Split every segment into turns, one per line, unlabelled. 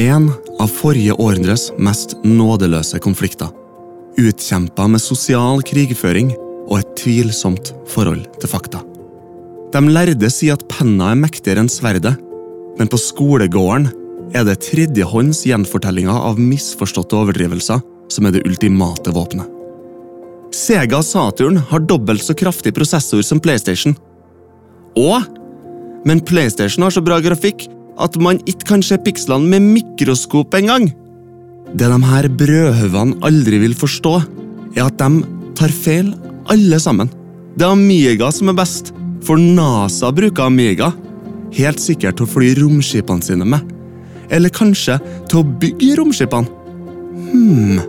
En av forrige århundres mest nådeløse konflikter. Utkjempa med sosial krigføring og et tvilsomt forhold til fakta. De lærde sier at penna er mektigere enn sverdet, men på skolegården er det tredjehånds gjenfortellinger av misforståtte overdrivelser som er det ultimate våpenet. Sega Saturn har dobbelt så kraftig prosessor som PlayStation. Og Men PlayStation har så bra grafikk at man ikke kan se pikslene med mikroskop engang. Det de her brødhaugene aldri vil forstå, er at de tar feil, alle sammen. Det er Amiga som er best, for NASA bruker Amiga. Helt sikkert til å fly romskipene sine med. Eller kanskje til å bygge romskipene. Hmm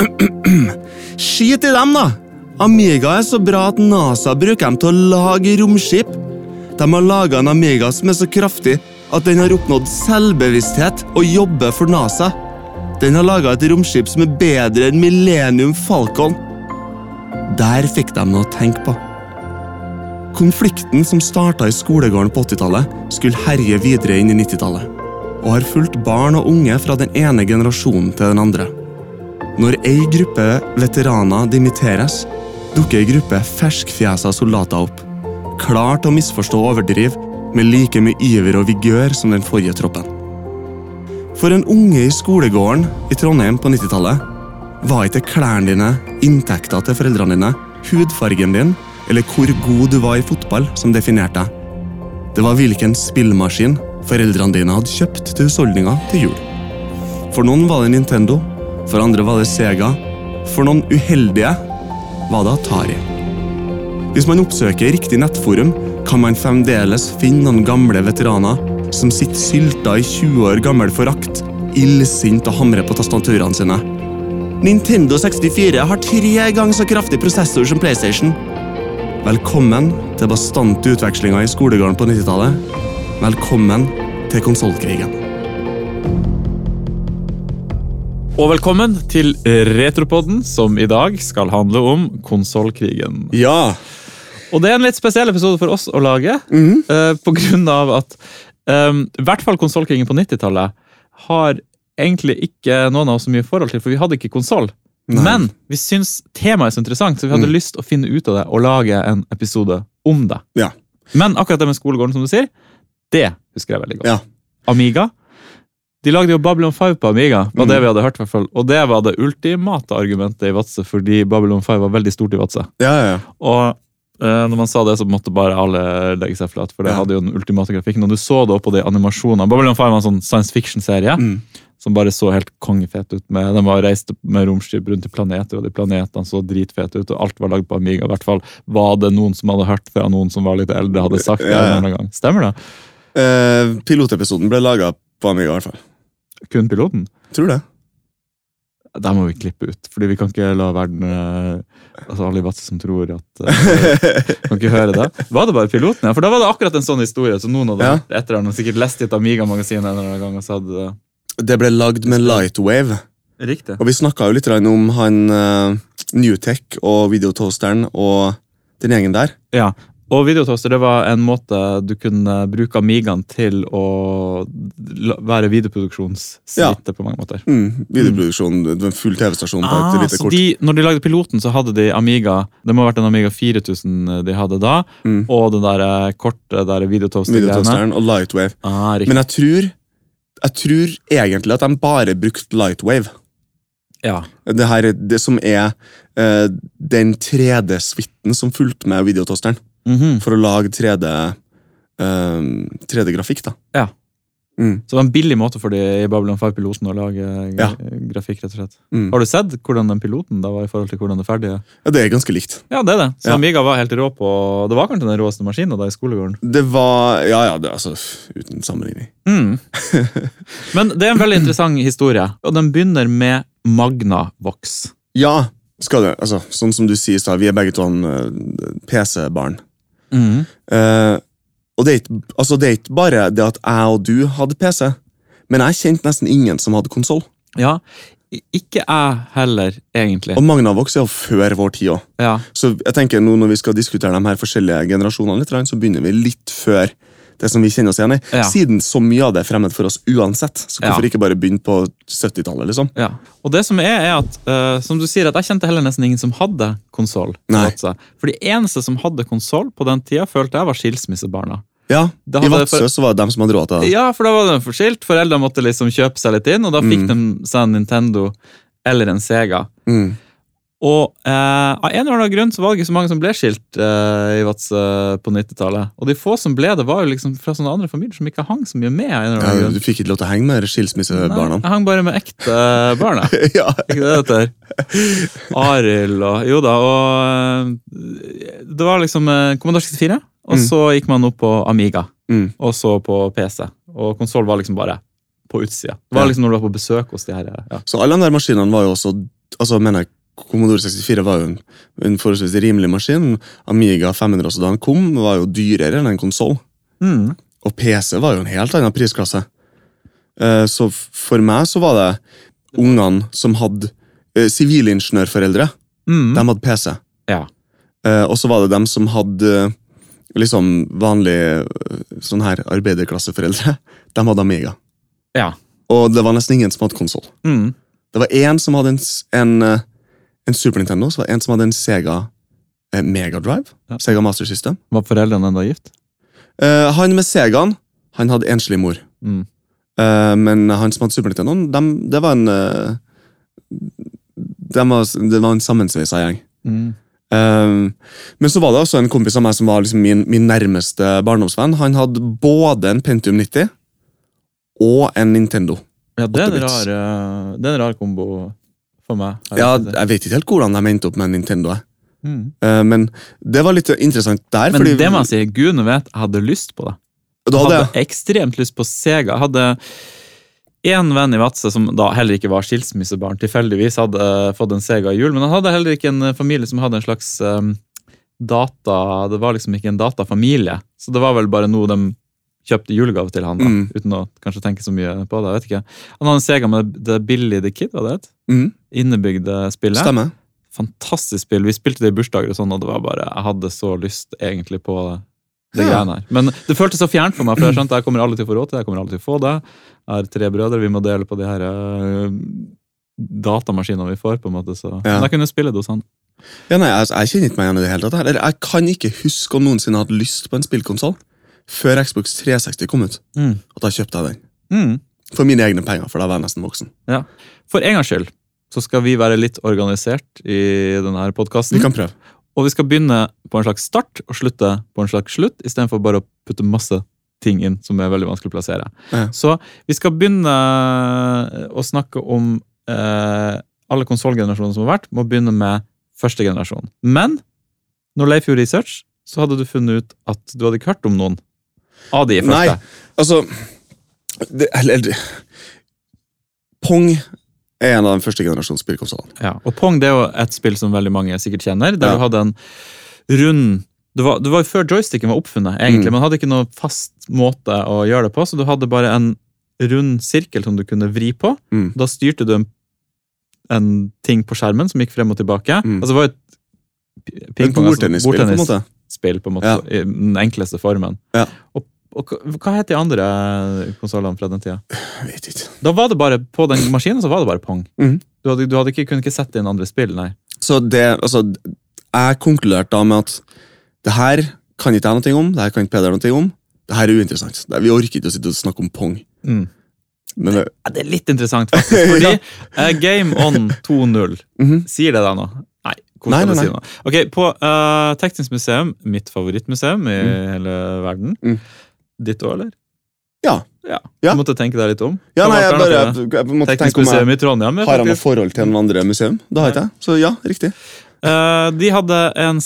Skit i dem, da! Amiga er så bra at NASA bruker dem til å lage romskip. De har laga en Amiga som er så kraftig at den har oppnådd selvbevissthet og jobber for NASA. Den har laga et romskip som er bedre enn Millennium Falcon. Der fikk de noe å tenke på. Konflikten som starta i skolegården på 80-tallet, skulle herje videre inn i 90-tallet, og har fulgt barn og unge fra den ene generasjonen til den andre. Når ei gruppe veteraner dimitteres, dukker ei gruppe ferskfjesa soldater opp. Klar til å misforstå og overdrive, med like mye iver og vigør som den forrige troppen. For en unge i skolegården i Trondheim på 90-tallet var ikke klærne dine, inntekta til foreldrene dine, hudfargen din eller hvor god du var i fotball som definerte deg. Det var hvilken spillmaskin foreldrene dine hadde kjøpt til husholdninga til jul. For noen var det Nintendo, for andre var det Sega. For noen uheldige var det Atari. Hvis man oppsøker riktig nettforum, kan man fremdeles finne noen gamle veteraner som sitter sylta i 20 år gammel forakt, illsint og hamrer på tastaturene sine. Nintendo 64 har tre ganger så kraftig prosessor som PlayStation. Velkommen til bastante utvekslinger i skolegården på 90-tallet. Velkommen til konsollkrigen.
Og velkommen til Retropodden, som i dag skal handle om konsollkrigen.
Ja.
Og det er en litt spesiell episode for oss å lage,
Mhm.
eh, på grunn av at eh, i hvert fall konsollkrigen på 90-tallet har egentlig ikke noen av oss så mye forhold til, for vi hadde ikke konsoll.
Nei. Mm.
Men vi syns temaet er så interessant, så vi hadde lyst å finne ut av det og lage en episode om det.
Ja.
Men akkurat det med skolegården, som du sier, det husker jeg veldig godt.
Ja.
Amiga. De lagde jo Babylon 5 på Amiga, var
Mm.
det vi hadde hørt. i hvert fall. Og det var det ultimate argumentet i Vadsø, fordi Babylon 5 var veldig stort i Vadsø.
Ja, ja, ja.
Og eh, når man sa det, så måtte bare alle legge seg flat, for det
Ja.
hadde jo den ultimate grafikken. Og du så det oppå de animasjonene. Babylon 5 var en sånn science fiction-serie
Mm.
som bare så helt kongefet ut. Med, de var reist med romskip rundt i planeter, og de planetene så dritfete ut. Og alt var lagd på Amiga. I hvert fall var det noen som hadde hørt fra noen som var litt eldre, hadde sagt det.
Ja, ja.
en eller annen gang. Stemmer det?
Eh, pilotepisoden ble laga på Amiga, i hvert fall.
Kun piloten?
Tror det.
Der må vi klippe ut, fordi vi kan ikke la verden eh, Altså alle i Vadsø som tror at eh, Kan ikke høre det. Var det bare piloten? Ja, for da var det akkurat en sånn historie. Så noen hadde
Ja.
vært etter den og sikkert lest i et Amiga-magasin en eller annen gang. og så hadde det...
Det ble lagd med Lightwave.
Riktig.
Og vi snakka jo litt grann om han eh, Newtech og Videotoasteren og den gjengen der.
Ja, Og videotoaster det var en måte du kunne bruke Amigaen til å la- være videoproduksjonssite på mange måter.
Mm, videoproduksjon, det var en full TV-stasjon på et
Ah,
lite
så
kort.
de, når de lagde piloten, så hadde de Amiga Det må ha vært en Amiga 4000 de hadde da.
Mm.
Og den der eh, korte der videotoaster-greiene.
Videotoasteren og Lightwave.
Ah, riktig.
Men jeg tror, jeg tror egentlig at de bare brukte Lightwave.
Ja.
Det her, det som er eh, den 3D-suiten som fulgte med videotoasteren
Mhm.
for å lage 3D, eh, 3D-grafikk, da.
Ja.
Mm.
Så det var en billig måte for de i Babylon 5-piloten å lage g-
Ja.
grafikk. rett og slett.
Mm.
Har du sett hvordan den piloten da var i forhold til hvordan det ferdige?
ja, det er ganske likt.
Ja, det er det. Så
Ja.
Amiga var helt rå på Det var kanskje den råeste maskinen da i skolegården.
Det var Ja, ja, det, altså, uten sammenligning.
Mm. Men det er en veldig interessant historie, og den begynner med Magnavox.
Ja, skal det. Altså, sånn som du sier i stad, vi er begge to en, eh, PC-barn.
Mm.
Eh, og det er, ikke, altså, det er ikke bare det at jeg og du hadde PC, men jeg kjente nesten ingen som hadde konsoll.
Ja. I- Ikke jeg heller, egentlig.
Og Magnavox er jo før vår tid òg.
Ja.
Så jeg tenker nå når vi skal diskutere de her forskjellige generasjonene, litt, så begynner vi litt før det som vi kjenner oss igjen i.
Ja.
Siden så mye av det er fremmed for oss uansett, så hvorfor
Ja.
ikke bare begynne på 70-tallet, liksom?
Ja. Og det som er, er at eh, som du sier, at jeg kjente heller nesten ingen som hadde konsoll.
Nei.
For de eneste som hadde konsoll på den tida, følte jeg var skilsmissebarna.
Ja,
Da
I
hadde jeg
Vadsø så var det dem som hadde råd til det.
Ja, for da var de forskilt. Foreldrene måtte liksom kjøpe seg litt inn, og da fikk de seg en Nintendo eller en Sega.
Mm.
Og eh, av en eller annen grunn så var det ikke så mange som ble skilt eh, i Vadsø på 90-tallet. Og de få som ble det, var jo liksom fra sånne andre familier som ikke hang så mye med. av en eller annen
Ja,
grunn.
du fikk ikke lov til å henge med de skilsmissebarna.
Nei, jeg hang bare med ekte barn, jeg.
ja.
Ikke det det heter? Arild og Jo da, og eh, Det var liksom eh, Commodore 64, og
Mm.
så gikk man opp på Amiga,
Mm.
og så på PC. Og konsoll var liksom bare på utsida. Det var
Ja.
liksom når du var på besøk hos de her. Ja.
Så alle de der maskinene var jo også altså mener jeg, Commodore 64 var jo en, en forholdsvis rimelig maskin. Amiga 500 også da den kom, var jo dyrere enn en konsoll.
Mm.
Og PC var jo en helt annen prisklasse. Eh, Så f- for meg så var det ungene som hadde eh, Sivilingeniørforeldre,
Mm.
de hadde PC.
Ja.
Eh, Og så var det dem som hadde eh, liksom vanlige eh, sånn her arbeiderklasseforeldre. De hadde Amiga.
Ja.
Og det var nesten ingen som hadde konsoll.
Mm.
Det var én som hadde en, s- en, eh, en Super Nintendo, så var det en som hadde en Sega eh, Mega Drive.
Ja.
Sega Master System.
Var foreldrene ennå gift?
Eh, han med Segaen, han hadde enslig mor.
Mm.
Eh, men han som hadde Super Nintendo, dem, det var en eh, dem var, Det var en sammensveisa gjeng.
Mm.
Eh, men så var det også en kompis av meg som var liksom min, min nærmeste barndomsvenn. Han hadde både en Pentium 90 og en Nintendo.
Ja, det er, en
Åttebits.
rar, eh, det er en rar kombo for meg.
Ja, jeg vet ikke helt hvordan de endte opp med en Nintendo. jeg.
Mm.
Eh, men det var litt interessant der.
Men
fordi-
det må jeg si, gudene vet, jeg hadde lyst på det.
Da hadde
hadde
jeg
ekstremt lyst på Sega. Jeg hadde en venn i Vadsø som da heller ikke var skilsmissebarn, tilfeldigvis hadde eh, fått en Sega i jul, men han hadde heller ikke en eh, familie som hadde en slags eh, data Det var liksom ikke en datafamilie, så det var vel bare noe de kjøpte i julegave til han, da,
Mm.
uten å kanskje tenke så mye på det. jeg vet ikke. Han hadde en Sega med The Billy the Kid, var det het?
Mm,
Innebygde spillet.
Stemmer.
Fantastisk spill. Vi spilte det i bursdager og sånn, og det var bare Jeg hadde så lyst egentlig på det. Det
Ja.
greiene her. Men det føltes så fjernt for meg. for Jeg skjønte jeg kommer aldri til å få råd til det. Jeg kommer aldri til å få det. Jeg har tre brødre, vi må dele på de her øh, datamaskinene vi får. på en måte. Så.
Ja.
Men jeg kunne spille det hos han.
Ja, nei, altså, jeg, jeg kjenner ikke meg igjen i det hele tatt. her. Eller, Jeg kan ikke huske om noensinne jeg hadde lyst på en spillkonsoll før Xbox 360 kom ut.
Mm.
Og da kjøpte jeg den.
Mm.
For mine egne penger, for da var jeg nesten voksen.
For en gangs skyld så skal vi være litt organisert i denne podkasten.
Vi kan prøve.
Og vi skal begynne på en slags start og slutte på en slags slutt, istedenfor bare å putte masse ting inn som er veldig vanskelig å plassere.
Ja.
Så vi skal begynne å snakke om eh, alle konsollgenerasjonene som har vært, må begynne med første generasjon. Men når Leif gjorde research, så hadde du funnet ut at du hadde ikke hørt om noen av de
Nei,
første.
altså det, Eller det- Pong er en av de første generasjons spillkonsollene.
Ja, og Pong det er jo et spill som veldig mange sikkert kjenner, der
Ja.
du hadde en rund det var, det var jo før joysticken var oppfunnet, egentlig.
Mm.
Man hadde ikke noe fast måte å gjøre det på, så du hadde bare en rund sirkel som du kunne vri på.
Mm.
Da styrte du en, en ting på skjermen som gikk frem og tilbake.
Mm.
Altså, det var jo et pi-
En
pingpong, altså,
bordtennisspill, på en måte.
bordtennisspill, på en måte.
Ja.
I den enkleste formen.
Ja.
Og, og hva- hva het de andre konsollene fra den tida?
Jeg vet ikke.
Da var det bare, På den maskinen så var det bare pong.
Mhm.
Du, hadde, du hadde ikke, kunne ikke sette inn andre spill, nei.
Så det, altså, jeg konkluderte da med at det her kan ikke jeg noe om, det her kan ikke Peder noe om. Det her er uinteressant. Det- Vi orker ikke å sitte og snakke om pong. Men det,
Ja, det er litt interessant, faktisk. Fordi
Ja.
eh, Game On 2.0,
Mhm.
sier det deg noe? Nei. Hvor
Nei,
skal det
nei,
si noe? Ok, På eh, Teknisk museum, mitt favorittmuseum i hele verden
Mm.
Ditt òg, eller?
Ja.
ja.
Ja.
Du måtte tenke deg litt om.
Ja,
Hva
nei,
var
jeg bare
alternativet?
jeg, jeg måtte tenke
Teknisk
om
museum
jeg
i Trondheim. er
har han noe
faktisk-
forhold til noen andre museum. Da har ikke jeg. Så ja, riktig.
Eh, de hadde en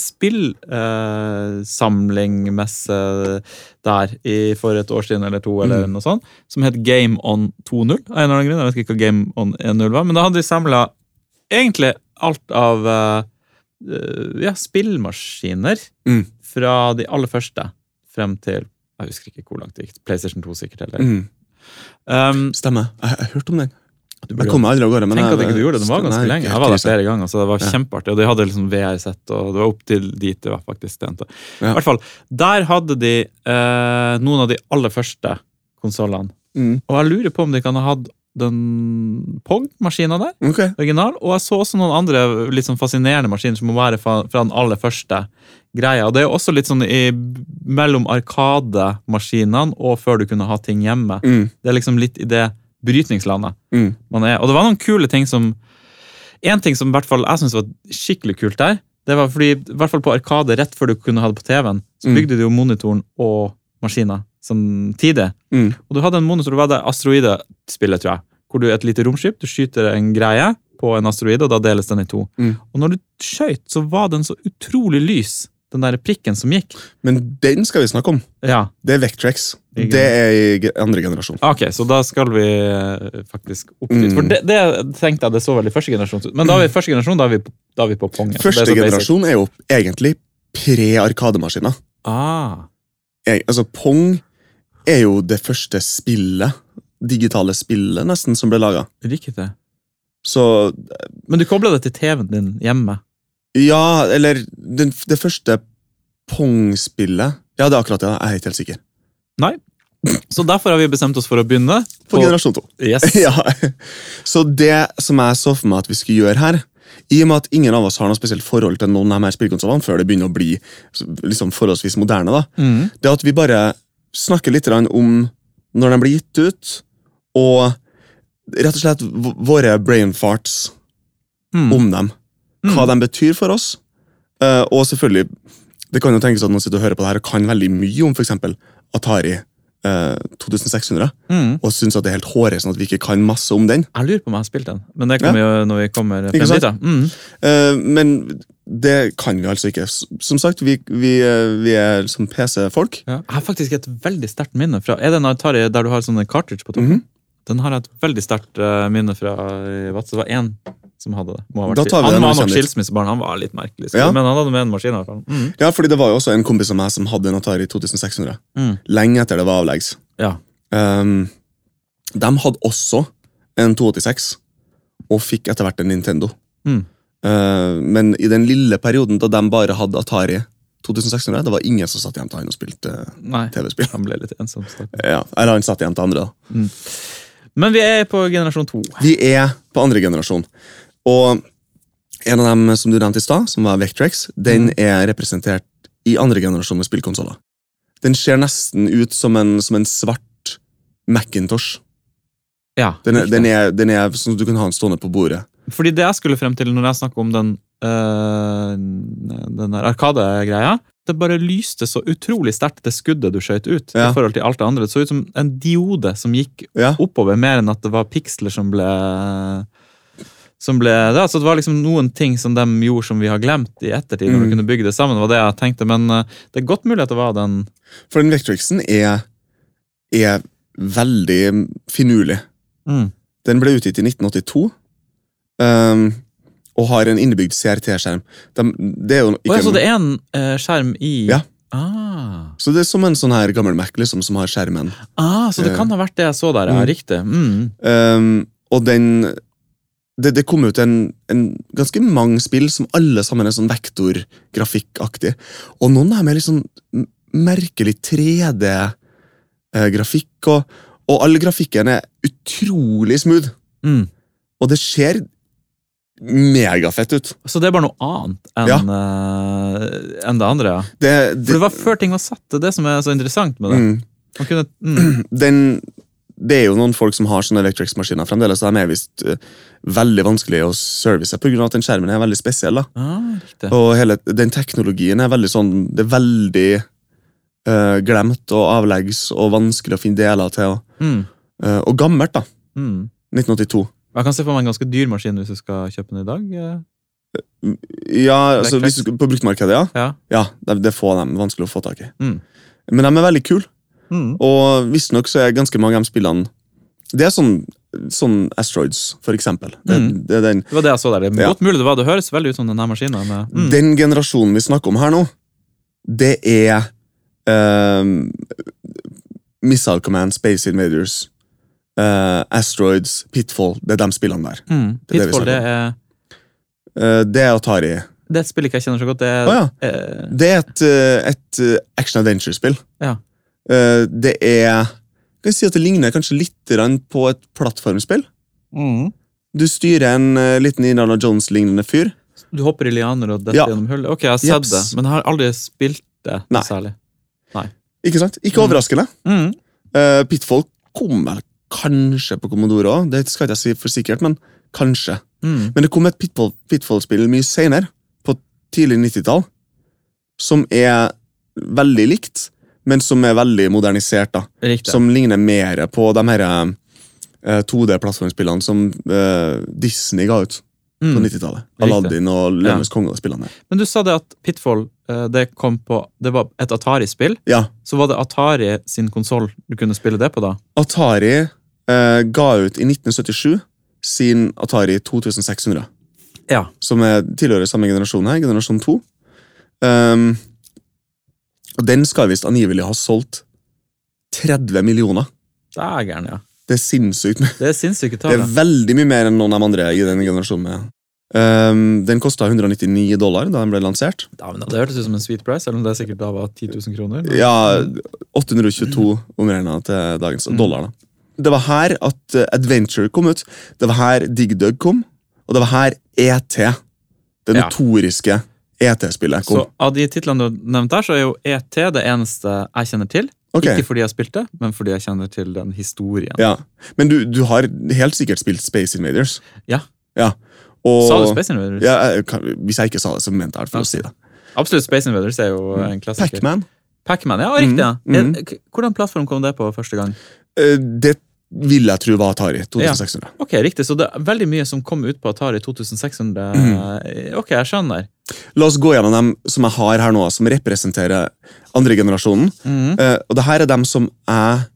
spillsamlingmesse der i, for et år siden eller to, eller noe sånt, som het Game On 2.0. Av en eller annen grunn, jeg vet ikke hva Game On 1.0 var, men da hadde de samla egentlig alt av eh, eh, ja, spillmaskiner
Mm.
fra de aller første frem til jeg husker ikke hvor langt det gikk. PlayStation 2 sikkert. eller.
Mm.
Um,
Stemmer. Mm. Jeg, jeg hørte om den.
Du
Jeg kom aldri av gårde. men
Tenk at
jeg-
ikke du gjorde det. Den var ganske
Nei,
lenge. Jeg var der
krise.
flere ganger, så det var kjempeartig. Og de hadde liksom VR-sett, og det var opp til dit det var faktisk tjente.
Ja.
I hvert fall, der hadde de eh, noen av de aller første konsollene.
Mm.
Og jeg lurer på om de kan ha hatt den Pong-maskina der,
Ok.
original. Og jeg så også noen andre litt sånn fascinerende maskiner som må være fra, fra den aller første greia. Og det er jo også litt sånn i, mellom arkademaskinene og før du kunne ha ting hjemme.
Mm.
Det er liksom litt i det brytningslandet
Mm.
man er. Og det var noen kule ting som En ting som i hvert fall jeg synes var skikkelig kult der, det var fordi i hvert fall på Arkade, rett før du kunne ha det på TV-en, så
Mm.
bygde de jo monitoren og maskiner samtidig.
Mm.
Og du hadde en monitor, det var det asteroidespillet, tror jeg, hvor du er et lite romskip, du skyter en greie på en asteroide, og da deles den i to.
Mm.
Og når du skøyt, så var den så utrolig lys, den der prikken som gikk.
Men den skal vi snakke om.
Ja,
Det er Vectrex.
Ikke
Det er i ge- andre generasjon.
Ok, så da skal vi eh, faktisk opp dit.
Mm.
For det, det tenkte jeg det så veldig første generasjon ut. Men da er vi første generasjon, da er vi, på- da er vi på Pong. ja. Så det er
Første
så basic.
generasjon er jo egentlig pre-arkademaskiner.
Ah,
Jeg- Altså, Pong er jo det første spillet, digitale spillet nesten, som ble laga.
riktig det.
Så
Men du kobler det til TV-en din hjemme.
Ja, eller den, det første Pong-spillet Ja, det er akkurat det. Jeg er ikke helt sikker.
Så derfor har vi bestemt oss for å begynne.
På generasjon to.
Yes.
ja. Så det som jeg så for meg at vi skulle gjøre her i og med at ingen av oss har noe spesielt forhold til noen av de her spillkonsollene før det begynner å bli liksom forholdsvis moderne, da,
Mm.
det er at vi bare snakker litt grann om når de blir gitt ut, og rett og slett v- våre brain farts
Mm.
om dem. Hva de betyr for oss. Eh, og selvfølgelig, det kan jo tenkes at noen sitter og hører på det her og kan veldig mye om f.eks. Atari eh, 2600,
Mm.
og syns at det er helt hårreisende at vi ikke kan masse om den.
Jeg lurer på om jeg har spilt den, men det kommer jo når vi kommer frem
Ikke sant?
dit. da. Mm.
Eh, men det kan vi altså ikke. S- Som sagt, vi, vi, eh, vi er som PC-folk.
Jeg har faktisk et veldig sterkt minne fra Er det en Atari der du har sånne cartridge på toppen?
Mhm.
Den har jeg et veldig sterkt eh, minne fra i Vadsø. Det var én som hadde det. Må ha vært
Da
skil-
tar vi det
han
når
var
vi
nok
kommer dit.
skilsmissebarn. Han var litt merkelig, så-
Ja.
men han hadde med en maskin. i hvert fall. Mm.
Ja, fordi det var jo også en kompis av meg som hadde en Atari 2600.
Mm.
Lenge etter det var avleggs.
Ja.
Ehm, de hadde også en 286, og fikk etter hvert en Nintendo.
Mm.
Eh, men i den lille perioden da de bare hadde Atari 2600, det var ingen som satt igjen til han og spilte eh,
Nei,
TV-spill.
han ble litt ensom. stakkar.
Ja, eller han satt igjen til andre, da.
Men vi er på generasjon to.
Vi er på andre generasjon. Og en av dem som du nevnte i stad, som var Vectrex, den
Mm.
er representert i andre generasjon med spillkonsoller. Den ser nesten ut som en, som en svart Macintosh.
Ja,
Den er,
riktig.
den er, den er sånn at du kan ha den stående på bordet.
Fordi det jeg skulle frem til når jeg snakket om den, øh, den der Arkade-greia Det bare lyste så utrolig sterkt, det skuddet du skjøt ut.
Ja.
i forhold til alt det andre. Det så ut som en diode som gikk
Ja.
oppover, mer enn at det var piksler som ble som ble, det, altså det var liksom noen ting som de gjorde som vi har glemt i ettertid. når
Mm.
vi kunne bygge det sammen, var det jeg tenkte, Men øh, det er godt mulig at det var den
For den Vectrexen er, er veldig finurlig.
mm,
Den ble utgitt i 1982. ehm, og har en innebygd CRT-skjerm. De- det er jo
Å
ikke
ja, Så
en,
det er en øh, skjerm i
Ja.
Ah,
så det er som en sånn her gammel Mac liksom, som har skjermen.
ah Så det
Eh.
kan ha vært det jeg så der, ja.
Mm.
Riktig. Mm.
Ehm, og den det, det kom ut en, en ganske mange spill som alle sammen er sånn vektorgrafikkaktig. Og noen av dem er litt sånn m- merkelig 3D-grafikk, og, og all grafikken er utrolig smooth.
Mm.
Og det ser megafett ut.
Så det er bare noe annet enn
Ja.
eh, enn det andre, ja.
Det,
For det var før ting var satt. Det er det som er så interessant med det.
mm,
Man kunne, mm,
den, det er jo noen folk som har sånne Electrics-maskiner fremdeles, og de er visst eh, veldig vanskelige å service pga. at den skjermen er veldig spesiell. da.
ah, riktig.
Og hele den teknologien er veldig sånn Det er veldig eh, glemt og avleggs og vanskelig å finne deler til. Og,
Mm,
eh, og gammelt, da.
mm.
1982.
Jeg kan se for meg en ganske dyr maskin hvis du skal kjøpe den i dag. eh.
Ja, altså,
Electrics.
hvis du, skal- På bruktmarkedet, ja.
Ja.
ja det, det får dem vanskelig å få tak i.
Mm.
Men de er veldig kule.
Mm.
Og visstnok så er ganske mange av de spillene Det er sånn, sånn Asteroids, for eksempel. Det,
Mm.
det er den,
Det var det jeg så der. Det er
Ja.
godt mulig det var. Det høres veldig ut som denne maskinen. men- Mm.
den generasjonen vi snakker om her nå, det er eh, Missile Command, Space Invaders, eh, Asteroids, Pitfall. Det er de spillene der. Det er
Mm.
det vi
Pitfall, det
snakker
er,
Eh, det er Atari.
det er et spill jeg ikke kjenner så godt. Det er,
Å ja.
eh,
Det er et, eh, et eh, action adventure-spill.
Ja.
Eh, Det er kan jeg si at Det ligner kanskje litt grann på et plattformspill. Mm. Du styrer en eh, liten Indiana Jones-lignende fyr.
Du hopper i lianer og detter
Ja.
gjennom hull? Ok, jeg har sett
Jeps.
det, men jeg har aldri spilt det
Nei.
særlig.
Ikke sant? Ikke
Mm.
overraskende.
Mm.
Eh, Pitfall kom vel kanskje på Commodore òg, det skal ikke jeg si for sikkert, men kanskje.
Mm.
Men det kom et Pitfall- Pitfall-spill mye senere, på tidlig 90-tall, som er veldig likt, men som er veldig modernisert. da.
Riktig.
Som ligner mer på de her eh, 2D-plattformspillene som eh, Disney ga ut på
mm.
90-tallet.
Riktig.
Aladdin og Løvenes konge og de spillene der.
Men du sa det at Pitfall eh, det kom på, det var et Atari-spill.
Ja,
Så var det Atari sin konsoll du kunne spille det på, da?
Atari eh, ga ut i 1977 sin Atari 2600,
Ja.
som er tilhører samme generasjon her, generasjon 2. Ehm, og den skal visst angivelig ha solgt 30 millioner.
Dægeren, ja.
Det er sinnssykt mye.
Det er sinnssyke
Det
tall.
er
Sånn, ja.
veldig mye mer enn noen av de andre i den generasjonen. med. Ehm, den kosta 199 dollar da den ble lansert.
Ja, men det hørtes ut som en sweet price, selv om det sikkert da var 10 000 kroner. men-
Ja, 822 omregna til dagens
Mm.
dollar. da. Det var her at eh, Adventure kom ut. Det var her Dig Dug kom. Og det var her ET, det
Ja.
notoriske ET-spillet, kom.
Så av de titlene du nevnte her, så er jo ET det eneste jeg kjenner til.
Ok,
Ikke fordi jeg spilte, men fordi jeg kjenner til den historien.
ja. Men du, du har helt sikkert spilt Space Invaders.
Ja.
ja. Og,
Sa du Space Invaders?
Ja, jeg kan- hvis jeg ikke sa det, så mente jeg det for å si det.
Absolutt, Space Invaders er jo en klassiker.
Mm. Pac-Man.
Pac-Man, ja, riktig. ja.
Mm, mm.
Er- k- Hvordan plattform kom det på første gang?
Eh, Det vil jeg tro var Atari 2600.
Ok, riktig, Så det er veldig mye som kom ut på Atari 2600.
Mm.
Ok, jeg skjønner.
La oss gå gjennom dem som jeg har her nå, som representerer andregenerasjonen.
Mhm.
Eh, og det her er dem som jeg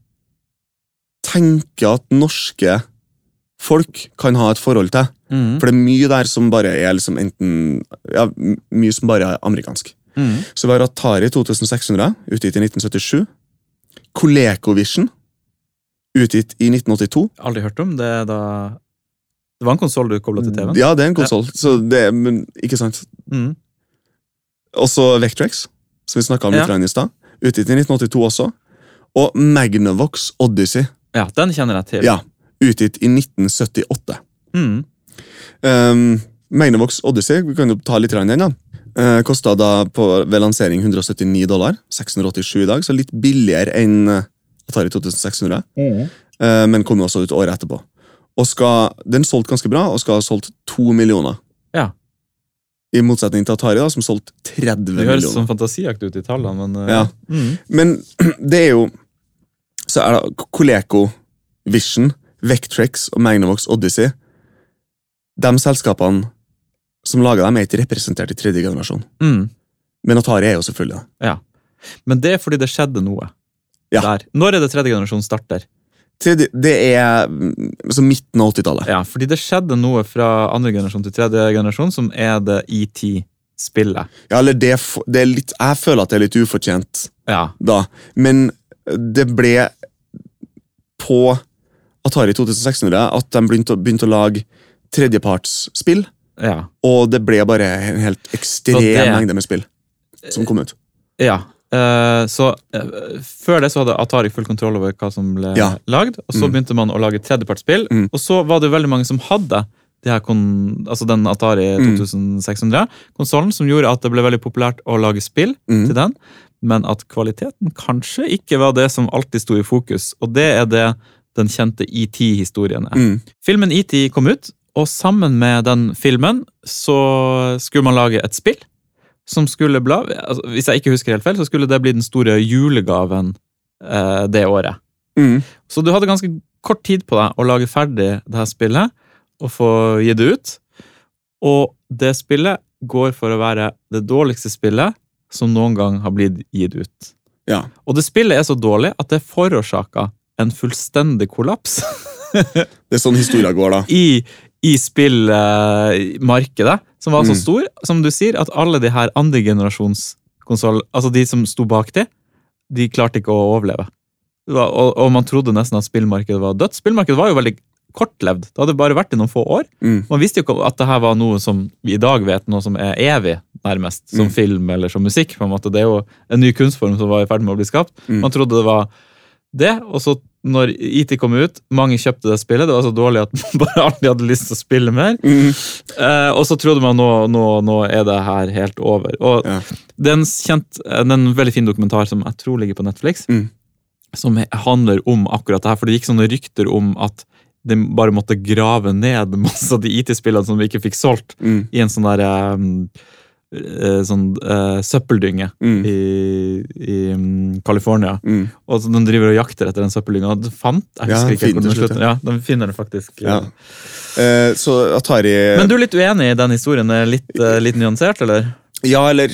tenker at norske folk kan ha et forhold til.
Mhm.
For det er mye der som bare er liksom enten Ja, m- mye som bare er amerikansk.
Mhm.
Så vi har Atari 2600, utgitt i 1977. ColecoVision, utgitt i 1982.
Aldri hørt om. Det er da Det var en konsoll du kobla til TV-en?
Ja, det er en konsoll, så det er men, Ikke sant.
Mhm.
Også Vectrex, som vi snakka om litt
Ja.
ja. i stad. Utgitt i 1982 også. Og Magnavox Odyssey,
ja, den kjenner jeg til.
Ja. utgitt i 1978.
Mhm.
Um, Magnavox Odyssey, vi kan jo ta litt grann den, da. Uh, Kosta da på, ved lansering 179 dollar. 687 i dag, så litt billigere enn eh, Atari 2600.
Mm.
eh, men kom jo også ut året etterpå. Og skal, Den solgte ganske bra, og skal ha solgt to millioner.
Ja.
I motsetning til Atari, da, som solgte 30
Det høres
millioner.
sånn fantasiaktig ut i tallene, men eh,
Ja.
mhm.
Men det er jo Så er det Coleco, Vision, Vectrex og Magnavox Odyssey De selskapene som lager dem, er ikke representert i tredje generasjon.
Mhm.
Men Atari er jo selvfølgelig det.
Men det er fordi det skjedde noe
Ja.
der. Når er det tredje generasjon starter?
Tredje, det er mm, så midten av 80-tallet.
Ja, fordi det skjedde noe fra andre generasjon til tredje generasjon, som er det E ET-spillet.
Ja, eller det, er f- det er litt Jeg føler at det er litt ufortjent
Ja.
da, men det ble på Atari 2600 at de begynte, å- begynte å lage tredjepartsspill,
ja.
og det ble bare en helt ekstrem
Så det-
mengde med spill som kom ut.
Ja. eh, så eh, Før det så hadde Atari full kontroll over hva som ble
Ja.
lagd. Og så
Mm.
begynte man å lage tredjepartsspill,
Mm.
og så var det veldig mange som hadde det her kon, altså den Atari
Mm.
2600-konsollen, som gjorde at det ble veldig populært å lage spill
Mm.
til den, men at kvaliteten kanskje ikke var det som alltid sto i fokus. Og det er det den kjente ET-historien er.
Mm.
Filmen ET kom ut, og sammen med den filmen så skulle man lage et spill. Som skulle bla, altså, hvis jeg ikke husker helt feil, så skulle det bli den store julegaven eh, det året.
Mm.
Så du hadde ganske kort tid på deg å lage ferdig det her spillet og få gi det ut. Og det spillet går for å være det dårligste spillet som noen gang har blitt gitt ut.
Ja.
Og det spillet er så dårlig at det forårsaka en fullstendig kollaps.
Det er sånn historia går, da.
i, i spillmarkedet, som var så
Mm.
stor, som du sier, at alle de her andregenerasjonskonsoll, altså de som sto bak det, de klarte ikke å overleve. Det var- Og, og man trodde nesten at spillmarkedet var dødt. Spillmarkedet var jo veldig kortlevd. Det hadde bare vært i noen få år.
Mm.
Man visste jo ikke at det her var noe som vi i dag vet, noe som er evig, nærmest.
Mm.
Som film eller som musikk. på en måte. Det er jo en ny kunstform som var i ferd med å bli skapt.
Mm.
Man trodde det var det, og så når IT kom ut, mange kjøpte det spillet. Det var så dårlig at man bare aldri hadde lyst til å spille mer.
Mm.
Eh, og så trodde man nå, nå, nå er det her helt over. Og
Ja.
det er en, kjent, eh, det er en veldig fin dokumentar som jeg tror ligger på Netflix,
Mm.
som he- handler om akkurat det her. For det gikk sånne rykter om at de bare måtte grave ned masse av de IT-spillene som vi ikke fikk solgt,
Mm.
i en sånn der eh, eh, sånn eh, søppeldynge
Mm.
i, i mm, California.
Mm.
Og så de driver og jakter etter den søppeldynga. og de Fant, jeg
Ja,
husker ikke
den
hvor den
finner til slutt,
slutter. Ja, de finner den faktisk.
Ja. Eh, så Atari
Men du er litt uenig i den historien? Er litt, eh, litt nyansert, eller?
Ja, eller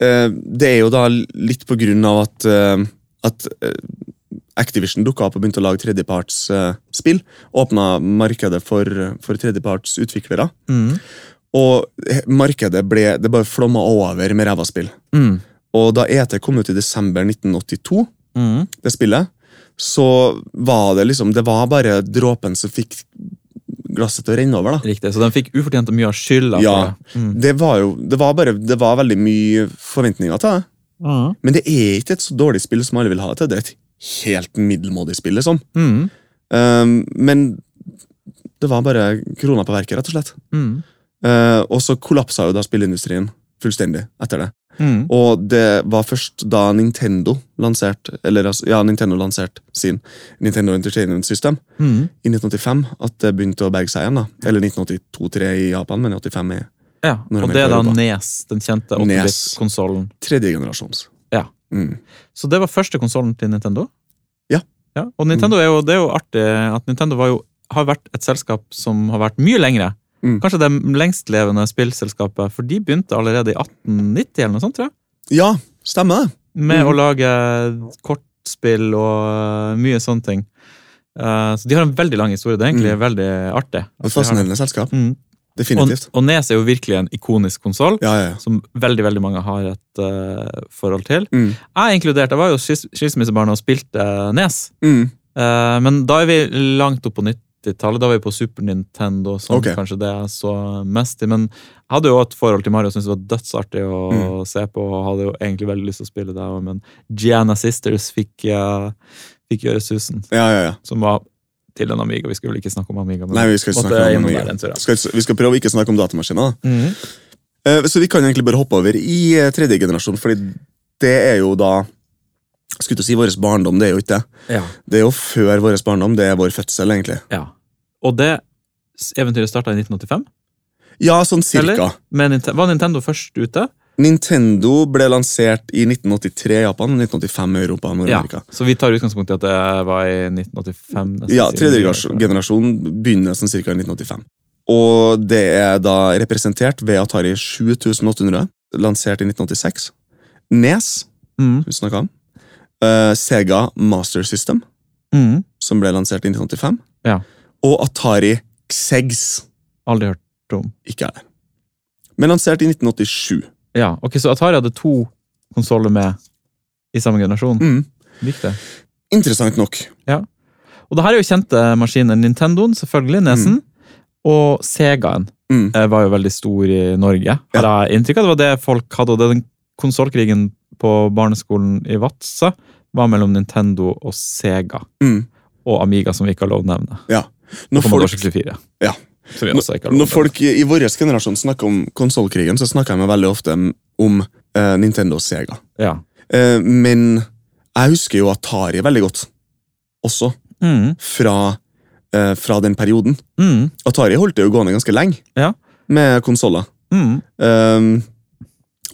eh, Det er jo da litt på grunn av at, eh, at eh, Activision dukka opp og begynte å lage tredjepartsspill. åpna markedet for, for tredjepartsutviklere.
Mm.
Og he- markedet ble Det bare flomma over med ræva spill.
Mm.
Og da ET kom ut i desember 1982,
Mm.
det spillet, så var det liksom Det var bare dråpen som fikk glasset til å renne over, da.
Riktig. Så den fikk ufortjent mye av skylda. for
Ja.
det. Mm.
Det var jo Det var bare Det var veldig mye forventninger til det.
Mm.
Men det er ikke et så dårlig spill som alle vil ha det til. Det er et helt middelmådig spill, liksom.
Mm.
Ehm, men det var bare krona på verket, rett og slett.
Mm.
Eh, og så kollapsa jo da spillindustrien fullstendig etter det.
Mm.
Og det var først da Nintendo lanserte Eller altså, ja, Nintendo lanserte sin Nintendo Entertainment System
Mm.
i 1985 at det begynte å berge seg igjen. da. Eller 1982-3 i Japan, men 85 er
Ja.
Når
Og
de
det er da
hører på.
Nes, den kjente
Nes.
8-bit-konsollen.
tredje generasjons.
Ja.
Mm.
Så det var første konsollen til Nintendo?
Ja. Mm.
ja. Og Nintendo er jo, det er jo artig at Nintendo var jo, har vært et selskap som har vært mye lengre.
Mm.
Kanskje det lengstlevende spillselskapet, for de begynte allerede i 1890 eller noe sånt, tror jeg.
Ja, stemmer det.
Med
Mm.
å lage kortspill og mye sånne ting. Eh, så de har en veldig lang historie. Det er egentlig veldig artig.
Et
at de har-
Mm. fascinerende selskap.
Mm. Og,
Definitivt.
og Nes er jo virkelig en ikonisk konsoll.
Ja, ja, ja.
Som veldig veldig mange har et eh, forhold til.
Mm.
Jeg inkludert, jeg var jo skils skilsmissebarn og spilte eh, Nes.
Mm.
Eh, men da er vi langt opp på 90-tallet. Da var vi på Super Nintendo. Sånn,
Ok.
Kanskje det jeg så mest i. Men jeg hadde jo et forhold til Mario og syntes det var dødsartig å
Mm.
se på. Og hadde jo egentlig veldig lyst til å spille det også, men Gianna Sisters fikk, eh, fikk gjøre susen.
ja, ja, ja.
Som var til en Amiga. Vi skulle vel ikke snakke om Amiga, men
Nei, vi skal ikke
måtte
snakke om
innom
Amiga.
der en tur, ja.
Skal, ikke- vi skal prøve å ikke snakke om datamaskiner. da.
Mhm.
Eh, Så vi kan egentlig bare hoppe over i eh, tredje generasjon, fordi det er jo da Skulle til å si vår barndom, det er jo ikke det.
ja.
Det er jo før vår barndom, det er vår fødsel, egentlig.
ja. Og det s- eventyret starta i 1985.
Ja, sånn cirka.
Eller? Men Ninte- var Nintendo først ute?
Nintendo ble lansert i 1983 i Japan, 1985 i Europa og Nord-Amerika.
Så vi tar utgangspunkt i at det var i 1985. nesten
Ja,
siden
tredje
vi-
generasjon- generasjon begynner sånn cirka i 1985. Og det er da representert ved Atari 7800, lansert i 1986. Nes
Mhm.
vi snakket om. Eh, Sega Master System,
Mhm.
som ble lansert i 1985.
Ja.
Og Atari Xegs.
Aldri hørt.
Ikke jeg. Men lansert i 1987.
Ja, ok, Så Atari hadde to konsoller med i samme generasjon.
Mm.
Likte.
Interessant nok.
Og det her er jo kjente maskiner. Nintendoen, selvfølgelig, nesen. Og Segaen
Mm.
eh, var jo veldig stor i Norge. Har jeg inntrykk av det var det folk hadde, og det den konsollkrigen på barneskolen i Vadsø var mellom Nintendo og Sega.
Mm.
Og Amiga, som vi ikke har lov å nevne.
Ja. Når
Og Commodore
folk,
64.
Ja.
Som vi også ikke har lov å
når
nevne.
folk i i vår generasjon snakker om konsollkrigen, så snakker jeg meg veldig ofte om eh, Nintendo og Sega.
ja.
Eh, men jeg husker jo Atari veldig godt. Også
mm,
fra, eh, fra den perioden.
mm,
Atari holdt det jo gående ganske lenge
Ja.
med konsoller.
mm.
Um,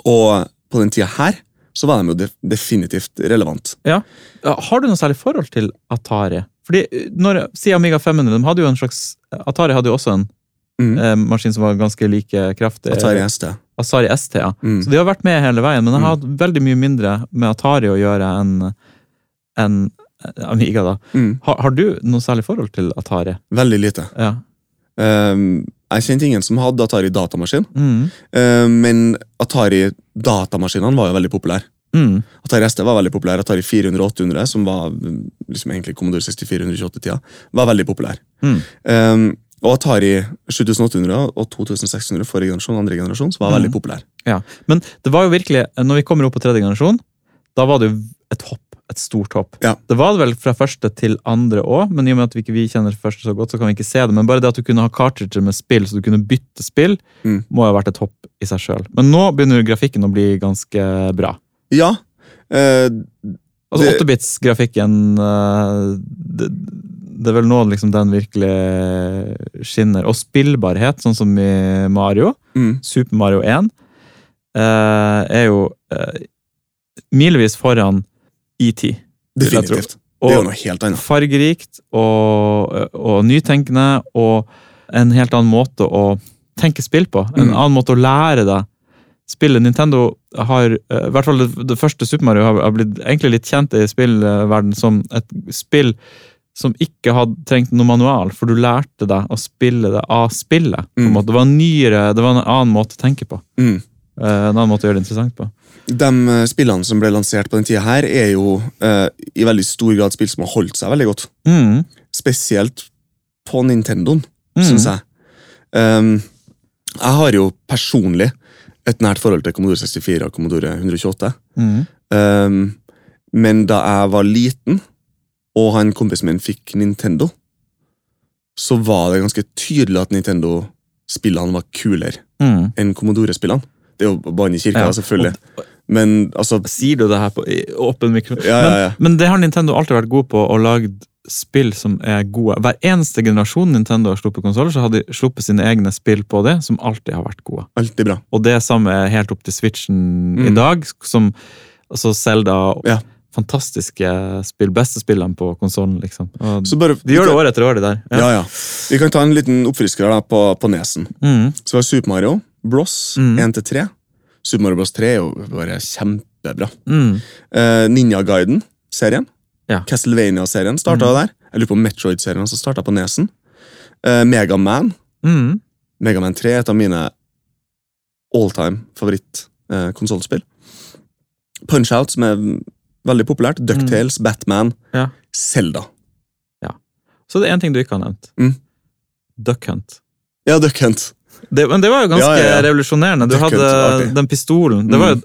og på den tida her så var de jo def definitivt relevant.
Ja, Har du noe særlig forhold til Atari? Fordi eh, når, Si Amiga 500. De hadde jo en slags, eh, Atari hadde jo også en
Mm.
eh, maskin som var ganske like kraftig.
Atari ST.
Atari ST, ja.
Mm.
Så de har vært med hele veien, men jeg har hatt veldig mye mindre med Atari å gjøre enn enn, eh, Amiga. da.
Mm.
Har, har du noe særlig forhold til Atari?
Veldig lite.
Ja.
Um, jeg kjente ingen som hadde Atari datamaskin,
Mm.
um, men Atari Eh, datamaskinene var jo veldig populære.
Mm.
Atari ST var veldig populær. Atari 400-800, som var mm, liksom egentlig Commodore 64-128-tida, var veldig populær.
Mm.
Um, og Atari 7800 og 2600 forrige generasjon, andre generasjon, som var veldig populær.
Ja. Men det var jo virkelig, når vi kommer opp på tredje generasjon, da var det jo et hopp. Et stort hopp.
Ja.
Det var det vel fra første til andre òg, men i og med at vi ikke vi kjenner første så godt, så kan vi ikke se det. Men bare det at du kunne ha cartridger med spill, så du kunne bytte spill,
Mm.
må jo ha vært et hopp i seg sjøl. Men nå begynner jo grafikken å bli ganske bra.
Ja. eh,
Altså
Det-
8-bits-grafikken eh, det, det er vel nå liksom den virkelig skinner. Og spillbarhet, sånn som i Mario.
mm,
Super Mario 1 eh, er jo eh, milevis foran ET. vil jeg tro.
definitivt. Det er jo
Og
noe helt annet.
fargerikt og, og nytenkende og en helt annen måte å tenke spill på. En
Mm.
annen måte å lære deg spillet. Nintendo har, eh, i hvert fall det, det første Super Mario, har, har blitt egentlig litt kjent i spillverden som et spill som ikke hadde trengt noe manual, for du lærte deg å spille det av spillet. på en
Mm.
måte. Det var en nyere, det var en annen måte å tenke på.
Mm.
Eh, En annen måte å gjøre det interessant på.
De eh, spillene som ble lansert på den tida her, er jo eh, i veldig stor grad spill som har holdt seg veldig godt.
Mm.
Spesielt på Nintendoen,
Mm.
syns jeg. Um, jeg har jo personlig et nært forhold til Commodore 64 og Commodore 128.
Mm.
Um, men da jeg var liten, og han kompisen min fikk Nintendo, så var det ganske tydelig at Nintendo-spillene var kulere
Mm.
enn Commodore-spillene. Det er jo bånd i kirka,
Ja,
selvfølgelig. Men altså
Sier du det her på i åpen mikro?
Ja, ja, ja.
Men, men det har Nintendo alltid vært god på, å lage spill som er gode. Hver eneste generasjon Nintendo har sluppet konsoller, så har de sluppet sine egne spill på det, som alltid har vært gode.
Alt er bra.
Og det samme er helt opp til Switchen i
Mm.
dag, som altså Zelda
Ja.
Fantastiske spill. Beste spillene på konsollen, liksom. Og
Så bare,
de gjør det år etter år, det der.
Ja. ja, Vi kan ta en liten oppfrisker da, på, på nesen.
Mm.
Så var det Super Mario Bros.
Mm.
1-3. Super Mario Bros. 3 er jo bare kjempebra.
Mm.
Eh, Ninja Guiden-serien.
Ja. Mm.
Castlevania-serien starta der. Jeg lurer på om Metroid-serien også starta på nesen. Eh, Megaman.
Mm.
Megaman 3 er et av mine alltime eh, favorittkonsollspill. Punch-Out, som er veldig populært. Ducktales, Batman,
Mm. Ja.
Zelda.
Så det er én ting du ikke har nevnt.
Mm.
Duck Hunt.
Ja, Duck Hunt.
Det, men det var jo ganske
Ja, ja, ja.
revolusjonerende. Du
Duck Hunt,
hadde
artig.
den pistolen. Det
Mm.
var jo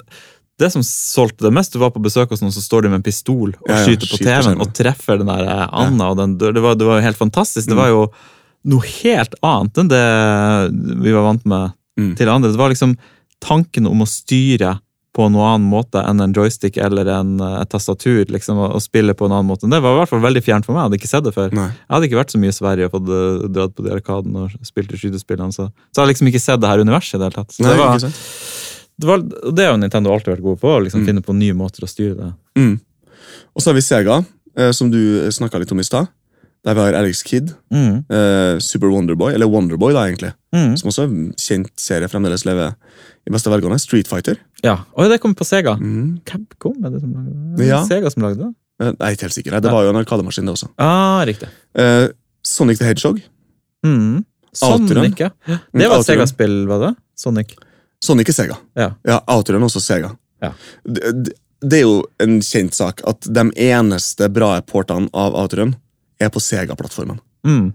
det som solgte det mest. Du var på besøk hos noen, så står de med en pistol og
Ja, ja,
skyter
skyter på
på TV-en
skjermen.
og treffer den der eh, Anna. Og den, det, var, det var jo helt fantastisk.
Mm.
Det var jo noe helt annet enn det vi var vant med
Mm.
til andre. Det var liksom tanken om å styre på noen annen måte enn en joystick eller en, eh, et tastatur. liksom, og, og spille på en annen måte. Det var i hvert fall veldig fjernt for meg. Jeg hadde ikke sett det før.
Nei.
Jeg hadde ikke vært så mye i Sverige og fått eh, dratt på de arkaden og spilt i skytespillene, så, så jeg har liksom ikke sett det her universet i det hele tatt. Så
Nei,
det,
ikke
var,
sant?
det, var, og det har jo Nintendo alltid vært gode på, å liksom finne på nye måter å styre det.
Mm. Og så har vi Sega, eh, som du snakka litt om i stad. Der vi har Alex Kidd,
Mm.
eh, Super Wonderboy, eller Wonderboy, da, egentlig.
Mm.
Som også er en kjent serie, fremdeles lever i beste velgående. Street Fighter.
Ja, og det kom på Sega.
Mm.
Capcom, er det som lagde det? Er det?
Ja.
Sega som lagde det?
Eh, Jeg er ikke helt sikker. Det var jo en arkademaskin, det også.
Ah, riktig.
Eh, Sonic the Hedgehog.
Mm.
Outrun.
Sonic, ja. Det
Mm,
var
Outrun.
et Sega-spill, var det? Sonic.
Sonic er Sega.
Ja.
ja Outrun er også Sega.
Ja.
Det, det- det er jo en kjent sak at de eneste bra portene av Outrun er på Sega-plattformen.
Mm.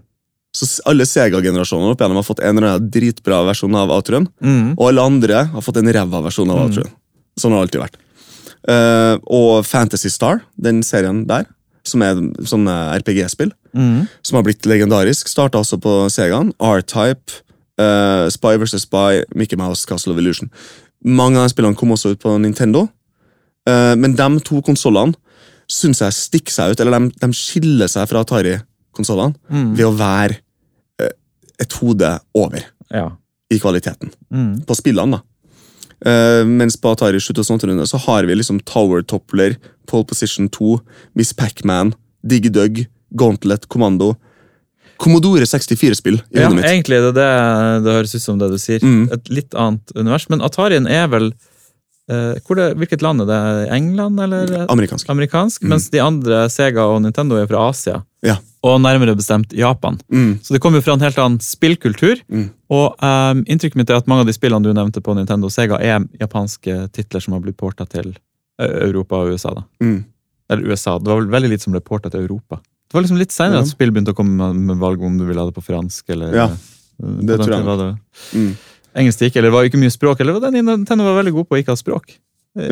Så s- alle Sega-generasjonene opp igjennom har fått en eller annen dritbra versjon av Outrun.
Mm.
Og alle andre har fått en ræva versjon av Outrun. Sånn har det alltid vært. Eh, og Fantasy Star, den serien der, som er sånne RPG-spill,
Mm.
som har blitt legendarisk, starta også på Segaen. R-Type, eh, Spy vs. Spy, Mickey Mouse, Castle of Illusion. Mange av de spillene kom også ut på Nintendo, eh, men de to konsollene syns jeg stikker seg ut, eller de, de skiller seg fra Atari-konsollene
Mm.
ved å være eh, et hode over
Ja.
i kvaliteten
Mm.
på spillene, da. Eh, mens på Atari 7800 så har vi liksom Tower Toppler, Pole Position 2, Miss Pacman, Dig Dug, Gauntlet, Kommando. Commodore 64-spill i
Ja,
hodet mitt.
egentlig det, er det det høres ut som det du sier.
Mm.
Et litt annet univers. Men Atarien er vel eh, hvor det, Hvilket land er det? England, eller?
Amerikansk.
Amerikansk.
Mm.
Mens de andre, Sega og Nintendo, er fra Asia.
Ja.
Og nærmere bestemt Japan.
Mm.
Så det kommer jo fra en helt annen spillkultur.
Mm.
Og ehm, inntrykket mitt er at mange av de spillene du nevnte på Nintendo og Sega, er japanske titler som har blitt porta til eh, Europa og USA. da.
Mm.
Eller USA. Det var vel veldig lite som ble portet til Europa. Det var liksom litt senere
Ja.
at spill begynte å komme med- med valg om du ville ha det på fransk eller
Ja,
eh, på
tror
den
jeg nok.
tiden var det-
Mm.
Engelsk det gikk, eller det var jo ikke mye språk. Eller den Nintendo var veldig god på å ikke ha språk. Eh,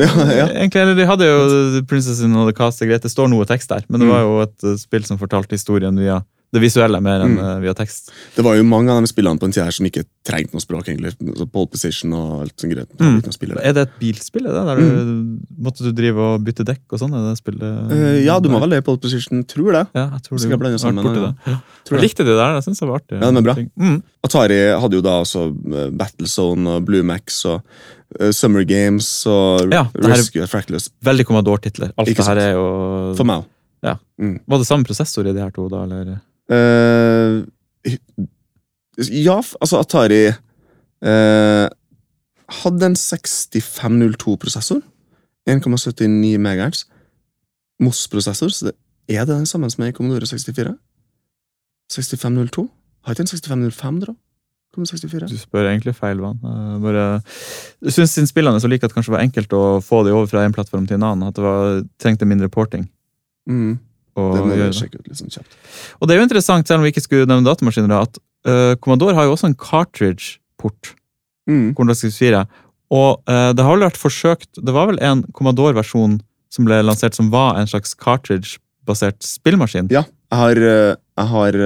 Ja, ja.
Egentlig, eller De hadde jo Princess in the Cast og greit, det står noe tekst der, men det
Mm.
var jo et eh, spill som fortalte historien via det visuelle mer enn
Mm.
eh, via tekst.
Det var jo mange av de spillene på en tid her som ikke trengte noe språk. egentlig. Så Pole position og alt sånt greit.
Mm.
Uten å spille det.
Er det et bilspill? er det? Der du, måtte du drive og bytte dekk og sånn? er det spillet?
Mm. Eh, ja, du må vel det i pole position. Tror det.
Ja, jeg tror
Skal jeg
du
blande
har vært
sammen,
borti
ja.
det. Ja.
Tror
Jeg
det.
likte det der. Jeg synes det var artig.
Ja, den er bra.
Mm.
Atari hadde jo da også eh, Battlezone og Blue Max og eh, Summer Games og
Ja, det her-
Rescue og Fractless.
Veldig Commodore-titler. Alt
Ikke
det
sant.
her er jo
For meg òg.
Var det samme prosessor i de her to, da? eller?
Eh, ja, f- altså Atari eh, hadde en 6502-prosessor. 1,79 MHz. MOS-prosessor, så det, er det den samme som er i Commodore 64? 6502? Har ikke en 6505, da? Kommer 64?
Du spør egentlig feil, Van. Jeg Bare, jeg syns spillene er så like at det kanskje var enkelt å få de over fra en plattform til en annen. At det var, trengte mindre porting.
Mm,
å
det må
gjøre
jeg
det.
sjekke ut litt sånn kjapt.
Og det er jo interessant, selv om vi ikke skulle nevne datamaskiner, da, at eh, Commodore har jo også en cartridge-port.
Mm.
Commodore 64. Og eh, det har vel vært forsøkt Det var vel en Commodore-versjon som ble lansert som var en slags cartridge-basert spillmaskin?
Ja, jeg har, eh, jeg har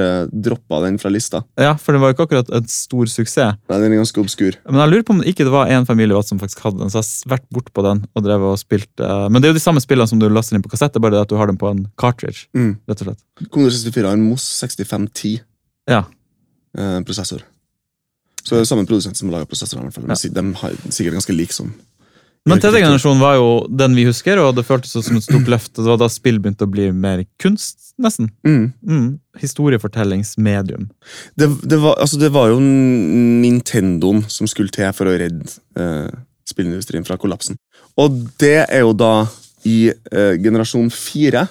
droppa den fra lista.
Ja, For det var jo ikke akkurat en stor suksess.
Nei, Den er ganske obskur.
Men jeg lurer på om det ikke det var en familie i Vatt som faktisk hadde den. Så jeg har vært bort på den og drevet og spilt eh, Men det er jo de samme spillene som du laster inn på kassett, det er bare det at du har dem på en cartridge.
Mm.
rett og slett.
Commodore 64 har en MOS 6510
Ja.
eh, prosessor. Så det er samme produsent som lager prosessorene. i hvert fall. Men
Ja.
si- De har sikkert ganske lik som
Men tredje generasjon var jo den vi husker, og det føltes som et stort løft. og Det var da spill begynte å bli mer kunst, nesten.
Mm.
Mm. Historiefortellingsmedium.
Det, det, var, altså, det var jo N- Nintendoen som skulle til for å redde eh, spillindustrien fra kollapsen. Og det er jo da i eh, generasjon fire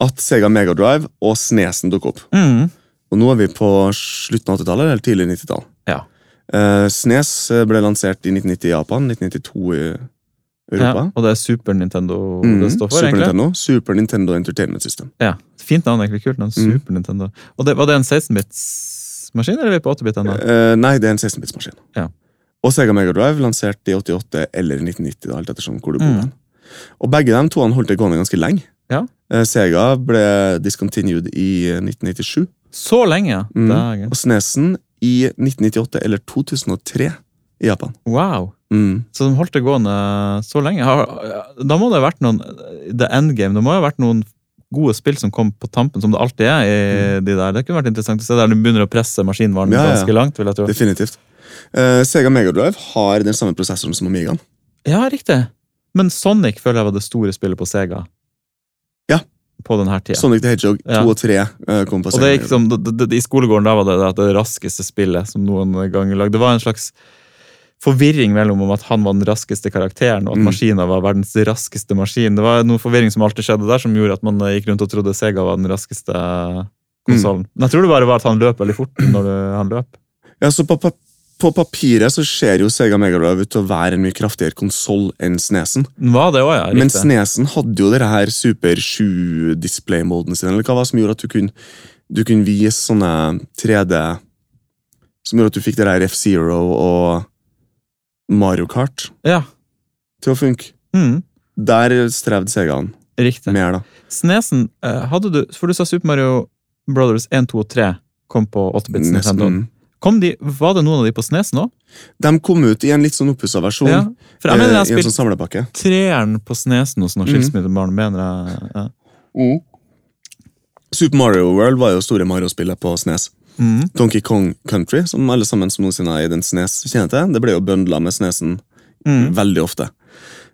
at Sega Megadrive og Snesen dukker opp.
Mm.
Og nå er vi på slutten av 80-tallet eller tidlig 90-tall.
Ja.
Eh, Snes eh, ble lansert i 1990 i Japan, 1992 i Europa.
Ja, og det er Super Nintendo
Mhm,
det står for,
Super
egentlig.
Nintendo, Super Nintendo Entertainment System.
Ja, Fint navn, egentlig. Kult navn.
Mhm.
Super Nintendo. Og det, Var det en 16-bits-maskin, eller er vi på 8-bit ennå?
Eh, nei, det er en 16-bitsmaskin.
Ja.
Og Sega Mega Drive lansert i 88 eller 1990, da, alt ettersom hvor du bor.
Mm.
hen. Og begge de to han holdt det gående ganske lenge.
Ja.
Eh, Sega ble discontinued i eh, 1997,
Så lenge! ja.
Mhm.
Dagen.
og Snesen i 1998 eller 2003 i Japan.
Wow!
Mm.
Så de holdt det gående så lenge. Har- Da må det ha vært noen The Endgame. Det må jo ha vært noen gode spill som kom på tampen, som det alltid er i de der. Det kunne vært interessant å se der de begynner å presse
Mm.
maskinvaren
Ja, ja.
ganske langt. vil jeg tro.
Definitivt. Eh, Sega Mega Drive har den samme prosessoren som Amigaen.
Ja, riktig. Men Sonic føler jeg var det store spillet på Sega.
Ja.
På denne tida.
Sonic the Hedgehog 2
Ja.
og 3 eh, kom på
Og
Sega
det
Mega
gikk som, det, det, I skolegården da var det det, at det raskeste spillet som noen gang lagd. Det var en slags forvirring mellom om at han var den raskeste karakteren, og at
Mm.
maskina var verdens raskeste maskin. Det var noe forvirring som alltid skjedde der, som gjorde at man eh, gikk rundt og trodde Sega var den raskeste konsollen.
Mm.
Men jeg tror det bare var at han løp veldig fort når eh, han løp.
Ja, så på, pa- på papiret så ser jo Sega Mega Drive ut til å være en mye kraftigere konsoll enn Snesen.
Var det også, ja.
Mm. Men
Riktig.
Snesen hadde jo dere her Super 7-display-moden sin, eller hva det var som gjorde at du kunne, du kunne vise sånne 3D Som gjorde at du fikk det der F-Zero og Mario Kart
Ja.
til å funke.
Mm,
Der strevde Segaen
riktig.
mer, da.
Snesen, eh, hadde du For du sa Super Mario Brothers 1, 2 og 3 kom på 8-bits Nintendo.
Nesten.
Kom de, var det noen av de på Snesen òg?
De kom ut i en litt sånn oppussa versjon.
Ja. For jeg mener jeg
eh,
har
I en
spilt
sånn samlepakke.
treeren på Snesen hos
Mm.
noen skilsmissebarn, mener jeg. Ja.
Super Mario World var jo store Mario-spillet på Snes.
Mhm.
Donkey Kong Country, som alle sammen som noensinne har eid en Snes, kjenner til. Det ble jo bøndla med Snesen
Mhm.
veldig ofte.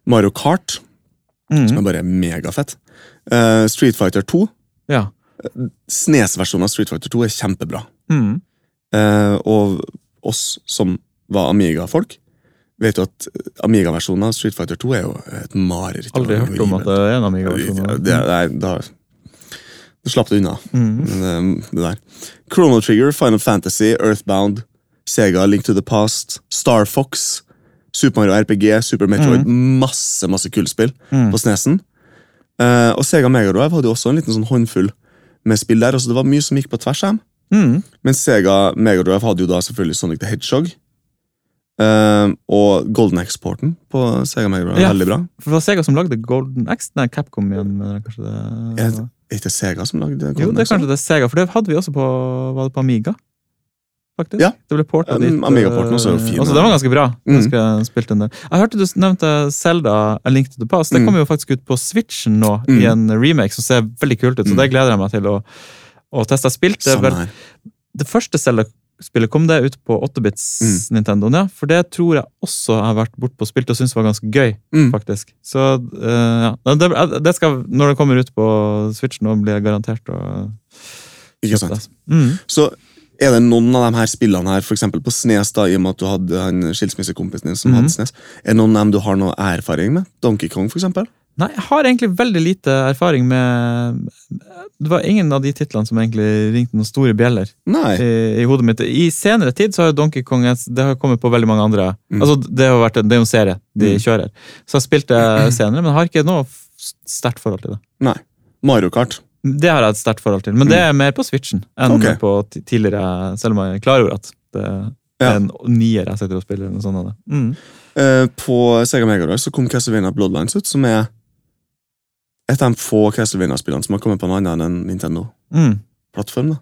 Mario Kart, som
Mhm.
er bare megafett. Eh, Street Fighter 2.
Ja.
Snes-versjonen E av Street Fighter 2 er kjempebra.
Mhm.
Eh, og oss som var Amiga-folk, vet jo at Amiga-versjonen av Street Fighter 2 er jo et mareritt.
Aldri hørt om at det er en Amiga-versjon.
Ja,
av
det, nei, da, da slapp du unna
Mhm.
men eh, det, det der. Chrono Trigger, Final Fantasy, Earthbound, Sega, Link to the Past, Star Fox, Super Mario RPG, Super Metroid, masse masse kullspill
Mm.
på SNESen. Eh, og Sega Megadrive hadde jo også en liten sånn håndfull med spill der. Altså det var mye som gikk på tvers av dem.
Mm.
Men Sega Megadrive hadde jo da selvfølgelig Sonic the Hedgehog. eh, og Golden Exporten på Sega Megadrive.
Ja.
Veldig bra.
For det var Sega som lagde Golden X. Nei, Capcom igjen. Men kanskje det...
Er det- Er ikke det Sega som lagde Golden
Jo, det er
Axe, da?
kanskje det er Sega, for det hadde vi også på, var det på Amiga. Faktisk.
Ja.
Det ble portet
Um,
dit.
Amiga-porten også er jo fin,
Altså,
da.
det var ganske bra.
Mm.
Ganske spilt en del. Jeg hørte du nevnte Zelda A Link to the Past. Det
Mm.
kommer jo faktisk ut på Switchen nå,
Mm.
i en remake som ser veldig kult ut, så
Mm.
det gleder jeg meg til å, å teste. Jeg spilte
Samme
vel
her.
det første Zelda-spillet kom det ut på
Mm.
8-bits Nintendoen, ja. For det tror jeg også jeg har vært bortpå og spilt og syntes var ganske gøy,
Mm.
faktisk. Så eh, ja. Det, det skal, når det kommer ut på Switch nå, blir jeg garantert å
Ikke sant?
Altså. Mm.
Så er det noen av de her spillene her, for eksempel på Snes, da, i og med at du hadde han skilsmissekompisen din som
Mhm.
hadde Snes, er det noen av dem du har noe erfaring med? Donkey Kong, for eksempel?
Nei, jeg har egentlig veldig lite erfaring med Det var ingen av de titlene som egentlig ringte noen store bjeller
Nei.
i, i hodet mitt. I senere tid så har jo Donkey Kong det har kommet på veldig mange andre
Mm.
Altså, det, har vært, en- det er jo en serie de
Mm.
kjører. Så jeg spilte senere, men jeg har ikke noe f- sterkt forhold til det.
Nei. Mario Kart.
Det har jeg et sterkt forhold til, men det er mer på Switchen enn
Mm. Ok.
på ti- tidligere, selv om jeg er klar over at det
Ja.
er en nier jeg sitter og spiller. eller Noe sånt av det. Mm.
Eh, på Sega Mega Drive så kom Castlevania Bloodlines ut, som er et av de få Castlevania-spillene som har kommet på noe annet enn en Nintendo-plattform.
Mm.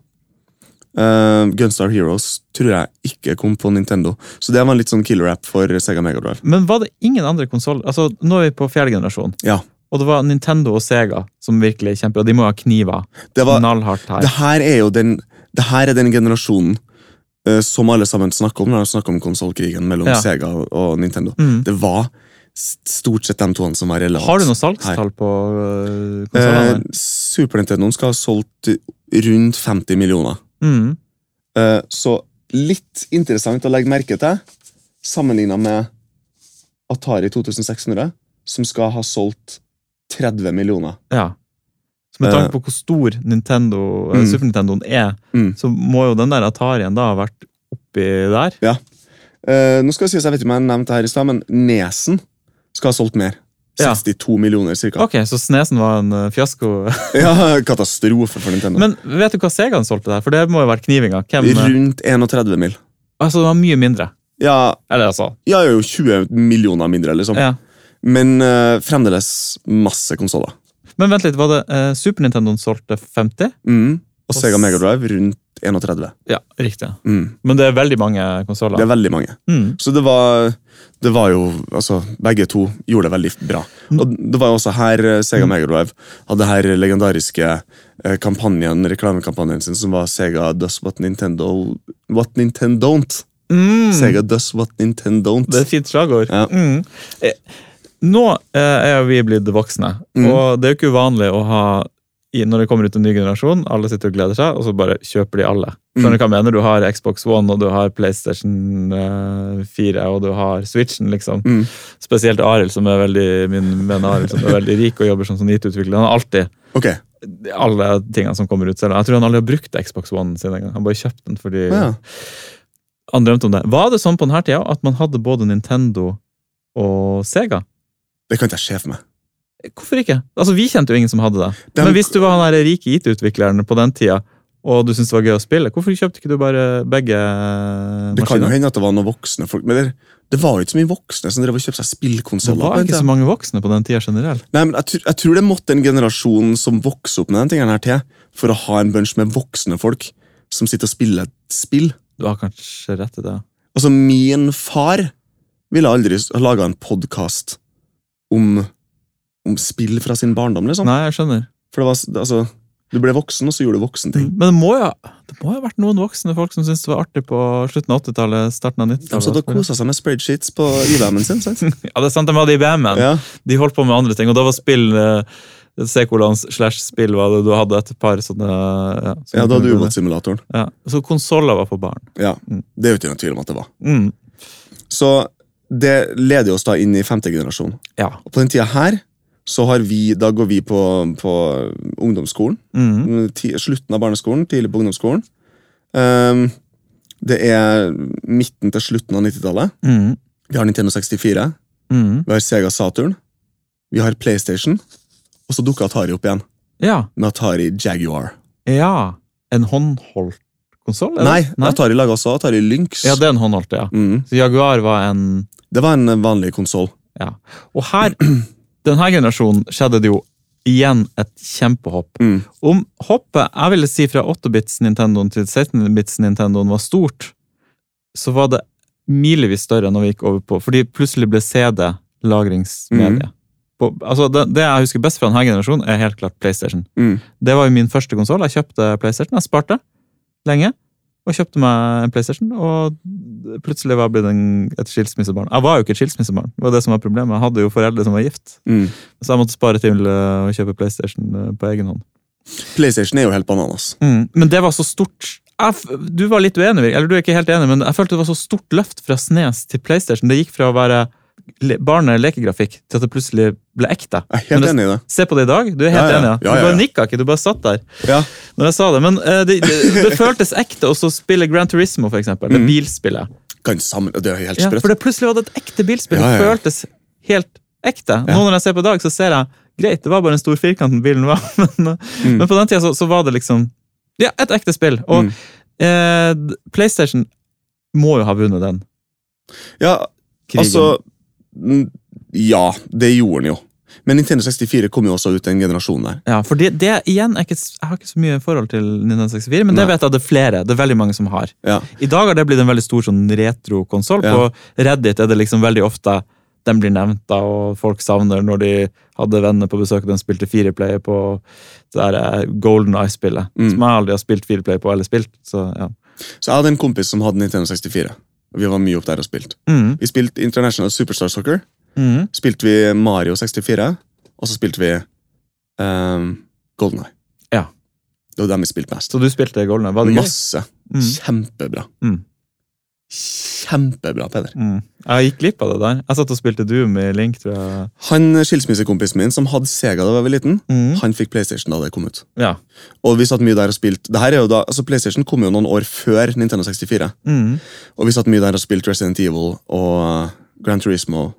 da. Eh, Gunstar Heroes tror jeg ikke kom på Nintendo, så det var en litt sånn killer-app for Sega Mega Drive.
Men var det ingen andre konsoller altså, Nå er vi på fjerde generasjon.
Ja.
Og det var Nintendo og Sega som virkelig kjemper, og de må ha kniver
Det var
knallhardt her.
Det her er jo den, det her er den generasjonen eh, som alle sammen snakker om når de snakker om konsollkrigen mellom
Ja.
Sega og, og Nintendo.
Mm.
Det var s- stort sett de toene som var relevant.
Har du noen salgstall på øh,
Eh,
konsollene?
Super Nintendo skal ha solgt rundt 50 millioner.
Mm.
Eh, så litt interessant å legge merke til, sammenligna med Atari 2600, som skal ha solgt 30 millioner.
Ja. Så med
Eh.
tanke på hvor stor Nintendo, eh,
Mm.
Super Nintendoen er,
Mm.
så må jo den der Atarien da ha vært oppi der.
Eh, nå skal det sies, jeg vet ikke om jeg nevnte det her i stad, men Nesen skal ha solgt mer.
Ja.
62 millioner, cirka.
Ok, så Snesen var en eh, fiasko.
Ja, katastrofe for Nintendo.
Men vet du hva Segaen solgte der? For det må jo ha vært knivinga. Hvem, eh,
Rundt 31 mil.
altså, det var mye mindre.
Ja,
Eller altså.
jeg er jo 20 millioner mindre, liksom.
Ja.
Men eh, fremdeles masse konsoller.
Men vent litt, var det eh, Super Nintendoen solgte 50?
Mm. Og
Og
Sega
s-
Megadrive rundt 31.
Ja, riktig.
Mm.
Men det er veldig mange
Det
konsoller.
er veldig mange.
Mm.
Så det var, det var jo Altså, begge to gjorde det veldig bra.
Mm.
Og det var jo også her eh, Sega Megadrive hadde her legendariske eh, kampanjen, reklamekampanjen sin som var Sega does what Nintendo What Nintendo don't.
Mm.
Sega does what Nintendo don't.
Det er et fint slagord.
Ja.
Mm. Eh, Nå eh, er vi blitt voksne,
Mm.
og det er jo ikke uvanlig å ha i- når det kommer ut en ny generasjon, alle sitter og gleder seg, og så bare kjøper de alle.
Mm.
Skjønner du hva jeg mener? Du har Xbox One, og du har PlayStation eh, 4, og du har Switchen, liksom.
Mm.
Spesielt Arild, som er veldig min venn Arild, som er veldig rik og jobber som sånn IT-utvikler. Han har alltid
Ok,
alle tingene som kommer ut selv. Jeg tror han aldri har brukt Xbox One sin engang. Han bare kjøpte den fordi
ja.
han drømte om det. Var det sånn på denne tida at man hadde både Nintendo og Sega?
Det kan ikke jeg se for meg.
Hvorfor ikke? Altså, Vi kjente jo ingen som hadde det.
Den-
Men hvis du var han der rike IT-utvikleren på den tida, og du syntes det var gøy å spille, hvorfor kjøpte ikke du bare begge
Det kan jo
maskinene?
hende at det var noen voksne folk, men det, det var jo ikke så mye voksne som drev og kjøpte seg
Det
spillkonsoller. på
var
den
ikke så
tiden.
mange voksne på den tida generelt.
Nei, men jeg, tr- jeg tror det måtte en generasjon som vokser opp med den tingene her til, for å ha en bunch med voksne folk som sitter og spiller et spill.
Du har kanskje rett i det.
Altså, min far ville aldri s- ha laga en podkast om, om spill fra sin barndom, liksom.
Nei, jeg skjønner.
For det var s- altså Du ble voksen, og så gjorde du voksenting.
Men det må jo det må jo ha vært noen voksne folk som syntes det var artig på slutten av 80-tallet, starten av
De satt og
90-tallet.
kosa seg med spreadsheets på IBM-en sin, sant?
Ja, det er sant, de hadde IBM-en.
Ja.
de holdt på med andre ting, og da var spill eh, C-kolans slash spill var det du hadde et par sånne eh, Ja, som
ja, da hadde
kunne gå ned.
ubåtsimulatoren.
Ja, Så konsoller var for barn.
Ja.
Mm.
Det er jo ikke noen tvil om at det var.
Mm.
Så det leder oss da inn i femte generasjon.
Ja.
Og på den tida her så har vi, da går vi på, på ungdomsskolen.
Mm.
Ti, slutten av barneskolen, tidlig på ungdomsskolen. Ehm, det er midten til slutten av 90-tallet.
Mm.
Vi har Nintendo 64,
Mhm.
vi har Sega Saturn, vi har PlayStation, og så dukka Atari opp igjen,
Ja.
med Atari Jaguar.
ja. En håndholdt konsoll?
Nei, Atari laga også Atari Lynx.
Ja, det er en håndholdt, ja.
Mm.
Så Jaguar var en
Det var en vanlig konsoll.
Ja. Og her, denne generasjonen, skjedde det jo igjen et kjempehopp.
Mm.
Om hoppet jeg ville si fra 8-bits Nintendoen til 16-bits Nintendoen var stort, så var det milevis større når vi gikk over på Fordi plutselig ble CD lagringsmedie. På- Altså, det, det jeg husker best fra denne generasjonen, er helt klart PlayStation.
Mm.
Det var jo min første konsoll. Jeg kjøpte PlayStation. Jeg sparte lenge. Og kjøpte meg en PlayStation, og plutselig var jeg blitt en, et skilsmissebarn. Jeg var jo ikke et skilsmissebarn. det var det som var problemet. Jeg hadde jo foreldre som var gift,
Mm.
så jeg måtte spare til øh, å kjøpe PlayStation øh, på egen hånd.
PlayStation er jo helt bananas.
Mm, men det var så stort jeg, f- Du var litt uenig, Virg. eller du er ikke helt enig, men jeg følte det var så stort løft fra Snes til PlayStation. Det gikk fra å være le- barne-lekegrafikk til at det plutselig ble ekte.
Jeg er helt
Men det-
enig i det.
Se på det i dag. Du er
Ja,
helt
ja.
enig. ja.
Ja, ja,
Du bare
ja.
nikka ikke, du bare satt der
Ja.
når jeg sa det. Men eh, det, det, det føltes ekte også å spille Gran Turismo, for eksempel. Det
Mhm.
bilspillet.
Kan sammen, det er helt
Mm. Ja,
sprøtt.
for det plutselig var det et ekte bilspill.
Ja, ja,
Det
ja.
føltes helt ekte.
Ja.
Nå når jeg ser på i dag, så ser jeg greit, det var bare en stor firkant den bilen var, men,
Mm.
men på den tida så, så var det liksom ja, et ekte spill. Og
Mm.
eh, d- PlayStation må jo ha vunnet den
Ja,
krigen.
altså mm, Ja, det gjorde den jo. Men Nintendo 64 kom jo også ut den generasjonen der.
ja, for det, det igjen er ikke, s- Jeg har ikke så mye forhold til 1964, men det
Nei.
vet jeg at det er flere. Det er veldig mange som har.
Ja.
I dag har det blitt en veldig stor sånn retrokonsoll.
Ja.
På Reddit er det liksom veldig ofte den blir nevnt, da, og folk savner når de hadde venner på besøk og de spilte fireplay på det der eh, Golden Eye-spillet.
Mm.
Som jeg aldri har spilt fireplay på eller spilt. Så, ja.
Så jeg hadde en kompis som hadde Nintendo 64. Og Vi var mye opp der og spilte.
mm.
Vi spilte International Superstar Soccer.
Mm.
Spilte vi Mario 64, og så spilte vi um, Golden Eye.
Ja.
Det var dem vi spilte mest.
så du spilte Golden Eye? Var det gøy?
Masse.
Mm.
Kjempebra.
Mm.
Kjempebra, Peder.
Mm. Jeg gikk glipp av det der. Jeg satt og spilte Doom i Link, tror jeg.
Han eh, skilsmissekompisen min som hadde Sega da jeg var liten,
Mm.
han fikk PlayStation da det kom ut.
Ja.
Og vi satt mye der og spilte det her er jo da, altså PlayStation kom jo noen år før Nintendo 64.
Mm.
Og vi satt mye der og spilte Resident Evil og uh, Gran Turismo.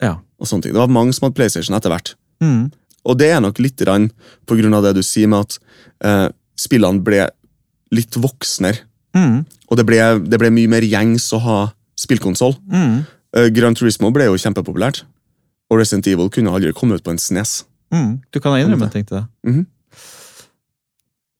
Ja.
og sånne ting. Det var mange som hadde PlayStation etter hvert.
Mm.
Og det er nok litt grann på grunn av det du sier med at eh, spillene ble litt voksnere.
Mm.
Og det ble, det ble mye mer gjengs å ha spillkonsoll.
Mm.
Eh, Gran Turismo ble jo kjempepopulært. Og Resident Evil kunne aldri komme ut på en E snes.
Mm. Du kan innrømme en ting til det.
Mhm.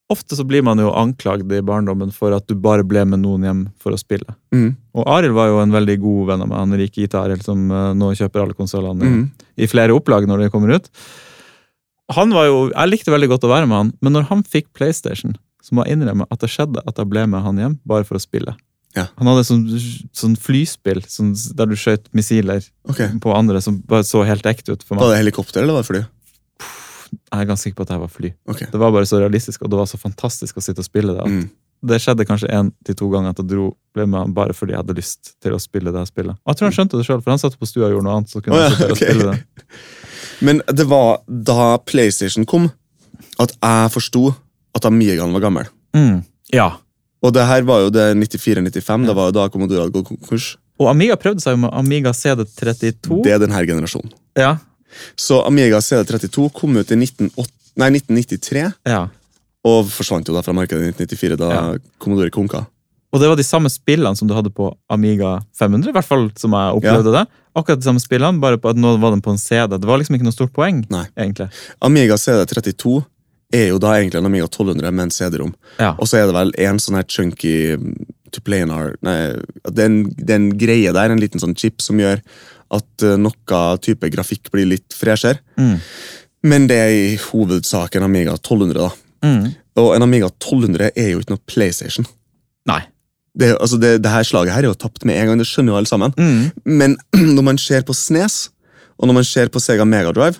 Ofte så blir man jo anklagd i barndommen for at du bare ble med noen hjem for å spille.
Mhm,
Og Arild var jo en veldig god venn av meg, han rike gitar-Arild som eh, nå kjøper alle konsollene i-
mhm,
i flere opplag når de kommer ut. Han var jo, Jeg likte veldig godt å være med han, men når han fikk PlayStation, så må jeg innrømme at det skjedde at jeg ble med han hjem bare for å spille.
Ja.
Han hadde sånn, sånn flyspill sånn, der du skjøt missiler
Ok.
på andre som bare så helt ekte ut for meg.
Var det helikopter eller var det fly?
Jeg er ganske sikker på at det her var fly.
Ok.
Det var bare så realistisk, og det var så fantastisk å sitte og spille det. at
Mm.
Det skjedde kanskje én til to ganger at jeg dro ble med han bare fordi jeg hadde lyst til å spille det jeg spillet. Og jeg tror han skjønte det sjøl, for han satt på stua og gjorde noe annet. så kunne
Å ja,
han sitte og
ok.
spille det.
Men det var da PlayStation kom, at jeg forsto at Amigaen var gammel.
Mm. Ja.
Og det her var jo det 94-95. Det var jo da Commodore hadde gått konkurs.
Og Amiga prøvde seg jo med Amiga CD32.
Det er denne generasjonen.
Ja.
Så Amiga CD32 kom ut i 1908 nei, 1993,
ja.
og forsvant jo da fra markedet i 1994, da
Ja.
Commodore konka.
Og det var de samme spillene som du hadde på Amiga 500, i hvert fall som jeg opplevde det. Akkurat de samme spillene, bare på at nå var den på en CD. Det var liksom ikke noe stort poeng,
Nei.
egentlig.
Amiga CD32 er jo da egentlig en Amiga 1200 med en CD-rom.
Ja.
Og så er det vel en sånn her chunky mm, to planar Nei, det er, en, det er en greie der, en liten sånn chip som gjør at eh, noe type grafikk blir litt freshere.
Mm.
Men det er i hovedsak en Amiga 1200, da.
Mm.
Og en Amiga 1200 er jo ikke noe PlayStation.
Nei.
Det, altså det, det her slaget her er jo tapt med en gang, det skjønner jo alle sammen.
Mm.
Men når man ser på Snes, og når man ser på Sega Mega Drive,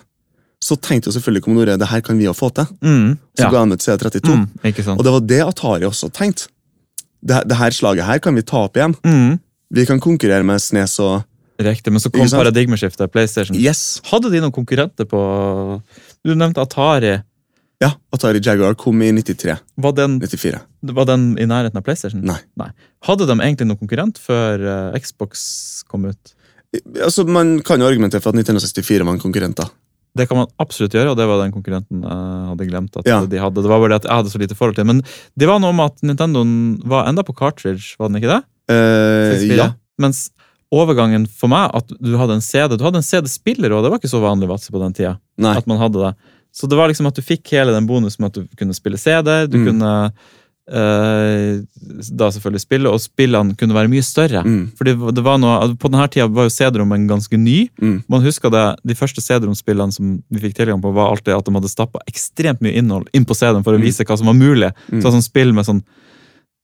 så tenkte jo selvfølgelig Commodore det her kan vi jo få til.
Mm.
Så
Ja.
ga han ut CD32.
Mm. Ikke sant.
Og det var det Atari også tenkte. Det, det her slaget her kan vi ta opp igjen.
Mm.
Vi kan konkurrere med Snes og
Riktig, men så kom
Ikke sant?
paradigmeskiftet. PlayStation.
Yes!
Hadde de noen konkurrenter på Du nevnte Atari.
Ja, Atari Jaguar kom i 93.
Var den,
94.
var den i nærheten av PlayStation?
Nei.
Hadde de egentlig noen konkurrent før eh, Xbox kom ut?
Altså, Man kan jo argumentere for at 1964 var en konkurrent, da.
Det kan man absolutt gjøre, og det var den konkurrenten jeg hadde glemt. at
Ja.
de hadde. Det var bare det at jeg hadde så lite forhold til. Men det var noe med at Nintendoen var enda på cartridge, var den ikke det?
Eh,
64.
ja.
Mens overgangen for meg, at du hadde en CD Du hadde en CD-spiller òg, det var ikke så vanlig Vatse, på den tida.
Nei.
At man hadde det. Så det var liksom at du fikk hele den bonusen med at du kunne spille CD, du
Mm.
kunne eh, da selvfølgelig spille, og spillene kunne være mye større.
Mm.
Fordi det var noe, På denne tida var jo CD-rommen ganske ny.
Mm.
Man husker det, De første CD-romspillene som vi fikk tilgang på, var alltid at de hadde stappa ekstremt mye innhold inn på CD-en for å
Mm.
vise hva som var mulig.
Mm.
Så sånn spill med sånn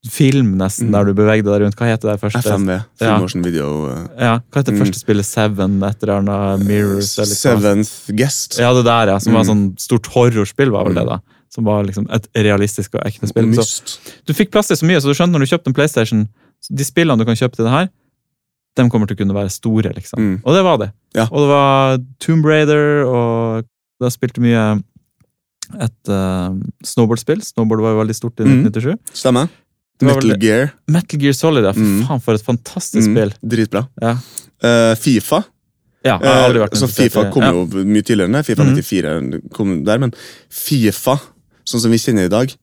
film, nesten,
Mm.
der du bevegde deg rundt. Hva heter det første?
FMV. Full
Ja.
motion video. eh,
Ja, hva heter det
Mm.
første spillet? Seven, et eller annet? Mirrors? Eller hva?
Seventh Guest.
Ja, det der, ja. Som var
Mm.
sånn stort horrorspill, var vel det, da. Som var liksom et realistisk og ekte spill. liksom Så
Myst.
du fikk plass til så mye, så du skjønte når du kjøpte en PlayStation så De spillene du kan kjøpe til det her, de kommer til å kunne være store, liksom.
Mm.
Og det var det.
Ja.
Og det var Tomb Raider, og da spilte mye et eh, snowboardspill. Snowboard var jo veldig stort i
Mm.
1997.
Stemmer.
Det var vel
Metal Gear.
Metal Gear Solid, ja. Fy
Mm.
faen, for et fantastisk
Mm,
spill.
dritbra.
Ja.
Eh, Fifa.
Ja, jeg har aldri
eh,
vært
så
interessert i-
Fifa kom
ja.
jo mye tidligere enn det. Fifa
Mhm.
94 kom der, men Fifa, sånn som vi kjenner i dag,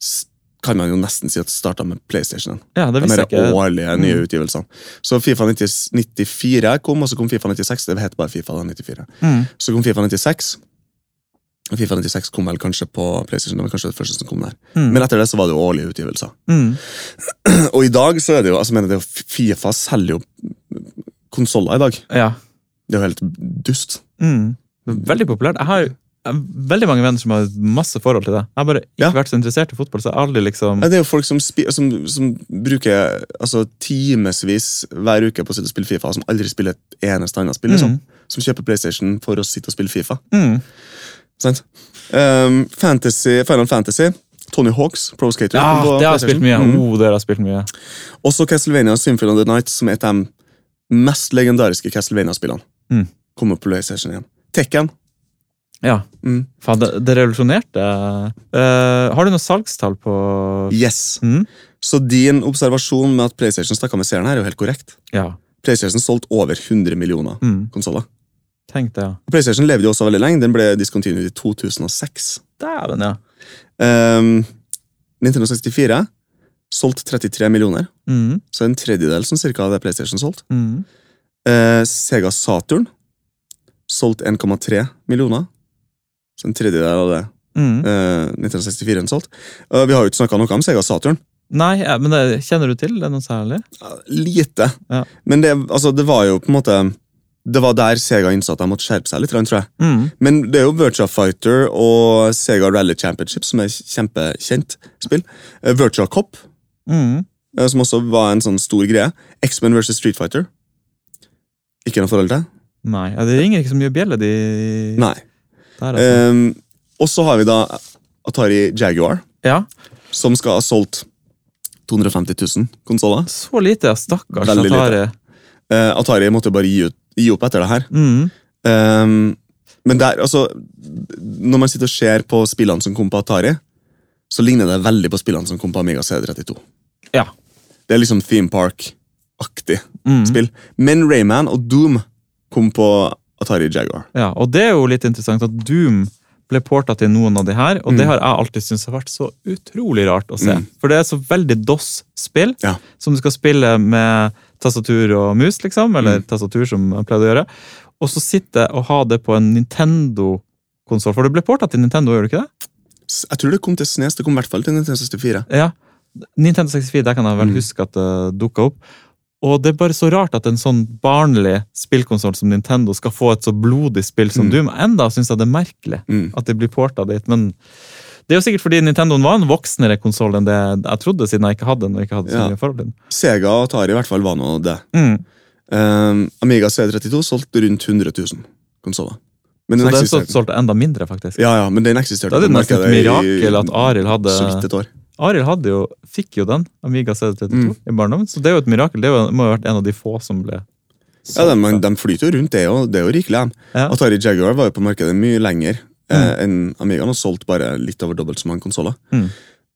s- kan man jo nesten si at starta med PlayStation.
Ja, det
De
visste
her
jeg ikke.
årlige nye
Mm.
utgivelsene. Så Fifa 90, 94 kom, og så kom Fifa 96. Det het bare Fifa da, 94.
Mm.
Så kom Fifa 96. Og Fifa 96 kom vel kanskje på PlayStation. Det var kanskje det første som kom der.
Mm.
Men etter det så var det jo årlige utgivelser.
Mm.
Og i dag så er det jo altså mener det, er jo- Fifa selger jo konsoller i dag.
Ja.
Det er jo helt dust.
Mm. Veldig populært. Jeg har jeg har veldig mange venner som har masse forhold til det. Jeg har bare ikke
Ja.
vært så interessert i fotball, så jeg har aldri liksom
Nei, Det er jo folk som, spi- som, som bruker altså, timevis hver uke på å sitte og spille Fifa, og som aldri spiller et eneste annet spill. Liksom.
Mm.
Som kjøper PlayStation for å sitte og spille Fifa.
Mm.
Sant? Um, fantasy, Final Fantasy, Tony Hawks, Pro Skater.
Ja,
på
det har jeg
PlayStation.
spilt mye.
Mm.
Oh, det har jeg spilt mye.
Også Castlevania Symphony of the Night, som er et av de mest legendariske Castlevania-spillene.
Mm.
Kommer på PlayStation igjen. Tekken.
Ja.
Mm.
Faen, det, det revolusjonerte Eh, Har du noen salgstall på
Yes.
mm?
Så din observasjon med at PlayStation stakk av med seerne, her er jo helt korrekt.
Ja.
PlayStation solgte over 100 millioner
Mm.
konsoller.
Tenk det, ja.
Og PlayStation levde jo også veldig lenge. Den ble discontinued i 2006.
Dæven, ja.
Um, Nintendo 64 solgte 33 millioner,
Mm.
så en tredjedel som cirka av det PlayStation solgte.
Mm.
Eh, Sega Saturn solgte 1,3 millioner, så en tredjedel av det
Mm.
eh, 1964 solgte. Eh, vi har jo ikke snakka noe om Sega Saturn.
Nei, ja, men det, kjenner du til det noe særlig?
Ja, Lite.
Ja.
Men det, altså, det var jo på en måte Det var der Sega innså at de måtte skjerpe seg litt, tror jeg.
Mm.
Men det er jo Virtua Fighter og Sega Rally Championship som er kjempekjent spill. Eh, Virtua Cop,
Mm.
eh, som også var en sånn stor greie. X-Men versus Street Fighter. Ikke noe forhold til?
Nei, ja, det ringer ikke så mye bjeller, de
Nei.
der. Altså.
Um, og så har vi da Atari Jaguar,
ja.
som skal ha solgt 250 000 konsoller.
Så lite, ja. Stakkars
Veldig lite.
Atari.
Eh, Atari måtte bare gi, ut, gi opp etter det her.
Mm.
Um, men der, altså Når man sitter og ser på spillene som kom på Atari, så ligner det veldig på spillene som kom på Amiga CD32.
Ja.
Det er liksom Theme Park-aktig
Mm.
spill. Men Rayman og Doom kom på Atari Jaguar.
ja. Og det er jo litt interessant at Doom ble porta til noen av de her, og det har jeg alltid syntes har vært så utrolig rart å se.
Mm.
For det er så veldig DOS-spill,
Ja.
som du skal spille med tastatur og mus, liksom, eller
Mm.
tastatur, som jeg pleide å gjøre, og så sitte og ha det på en Nintendo-konsoll. For det ble porta til Nintendo, gjør det ikke det?
S- Jeg tror det kom til Snes. Det kom i hvert fall til 1964.
Ja. Nintendo 64, der kan jeg
Mm.
vel huske at det dukka opp. Og det er bare så rart at en sånn barnlig spillkonsoll som Nintendo skal få et så blodig spill som
Mm.
Doom. Enda syns jeg det er merkelig.
Mm.
at de blir porta dit. Men det er jo sikkert fordi Nintendoen var en voksnere konsoll enn det jeg trodde, siden jeg ikke hadde den. og ikke hadde så
Ja.
mye forhold til den.
Sega og Atari i hvert fall var nå det.
Mm.
Um, Amiga CD32 solgte rundt 100 000 konsoller. Men
Så
den
den så-
eksisterte.
solgte enda mindre, faktisk.
Ja, ja, men den eksisterte
Da er det
på
nesten et
markedet i-
mirakel at Arild
så vidt
hadde
et år.
Arild hadde jo, fikk jo den, Amiga
Mm.
CD32, i barndommen. Så det er jo et mirakel. Det er jo- må jo ha vært en av de få som ble
Ja, de,
solgt, da.
de flyter jo rundt, det er jo, det er jo rikelig. dem.
Ja.
Atari Jaguar var jo på markedet mye lenger eh, enn Amigaen, og solgte bare litt over dobbelt så mange konsoller.
Mm.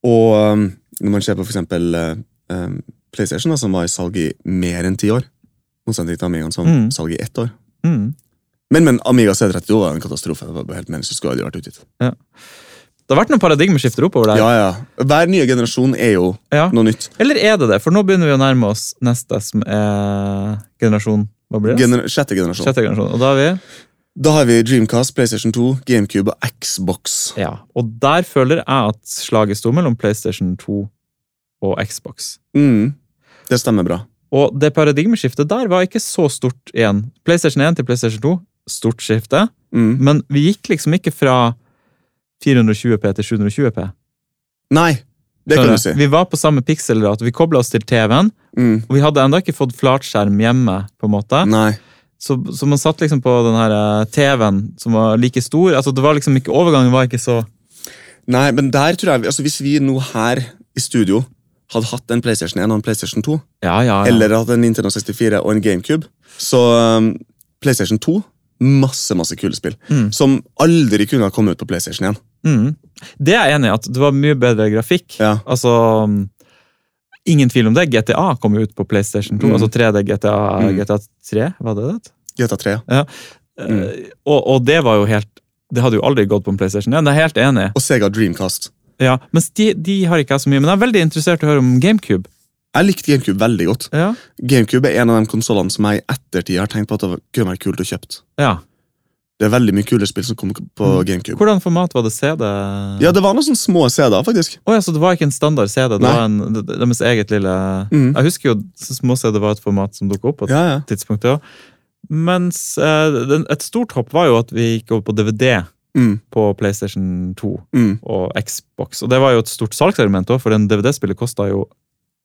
Og um, ehm, når man ser på for eksempel eh, um, PlayStation, da, som var i salg i mer enn ti år, Motsetning til Amigaen, som
Mm.
salg i ett år.
Mm.
Men, men Amiga C32 var en katastrofe. Det var bare helt menneskelig, skulle aldri vært utgitt.
Det har vært noen paradigmeskifter oppover der.
Ja, ja. Hver nye generasjon er jo
Ja.
noe nytt.
Eller er det det? For nå begynner vi å nærme oss neste som er generasjon Hva blir det?
Gener sjette generasjon.
Sjette generasjon. Og da er vi
Da har vi Dreamcast, PlayStation 2, GameCube og Xbox.
Ja. Og der føler jeg at slaget sto mellom PlayStation 2 og Xbox.
Mm. Det stemmer bra.
Og det paradigmeskiftet der var ikke så stort igjen. PlayStation 1 til PlayStation 2, stort skifte.
Mm.
Men vi gikk liksom ikke fra 420p til 720p.
Nei, det kan du si.
Vi var på samme pikselrat. Vi kobla oss til TV-en,
Mm.
og vi hadde ennå ikke fått flatskjerm hjemme. på en måte.
Nei.
Så, så man satt liksom på den her eh, TV-en som var like stor. Altså, det var liksom ikke, Overgangen var ikke så
Nei, men der tror jeg vi, altså Hvis vi nå her i studio hadde hatt en PlayStation 1 og en PlayStation 2,
Ja, ja, ja.
eller hatt en Nintendo 64 og en GameCube, så um, PlayStation 2 Masse masse kule spill
Mm.
som aldri kunne ha kommet ut på PlayStation 1.
Mm. Det er jeg enig i, at det var mye bedre grafikk.
Ja.
Altså mm, Ingen tvil om det. GTA kom jo ut på PlayStation 2.
Mm.
Altså 3D GTA,
Mm.
GTA 3, var det det?
GTA 3. ja.
Eh,
Mm.
og, og det var jo helt Det hadde jo aldri gått på en PlayStation 1. Det er jeg helt enig. i.
Og Sega Dreamcast.
Ja, mens de, de har ikke jeg så mye. Men jeg er veldig interessert i å høre om GameCube.
Jeg likte GameCube veldig godt.
Ja.
GameCube er en av de konsollene som jeg i ettertid har tenkt på at det kunne vært kult å kjøpt.
ja.
Det er veldig mye kule spill som kommer på
Mm.
GameCube.
Hvordan format var det CD?
Ja, det var noen sånne små CD-er, faktisk.
Å ja, så det var ikke en standard CD. Det
Nei.
var en, det- det- deres eget lille
Mm.
Jeg husker jo små-CD var et format som dukket opp. på et
Ja, ja.
tidspunkt. Ja. Mens eh, den, et stort hopp var jo at vi gikk over på DVD
Mm,
på PlayStation 2
mm.
og Xbox. Og det var jo et stort salgsargument òg, for en DVD-spiller kosta jo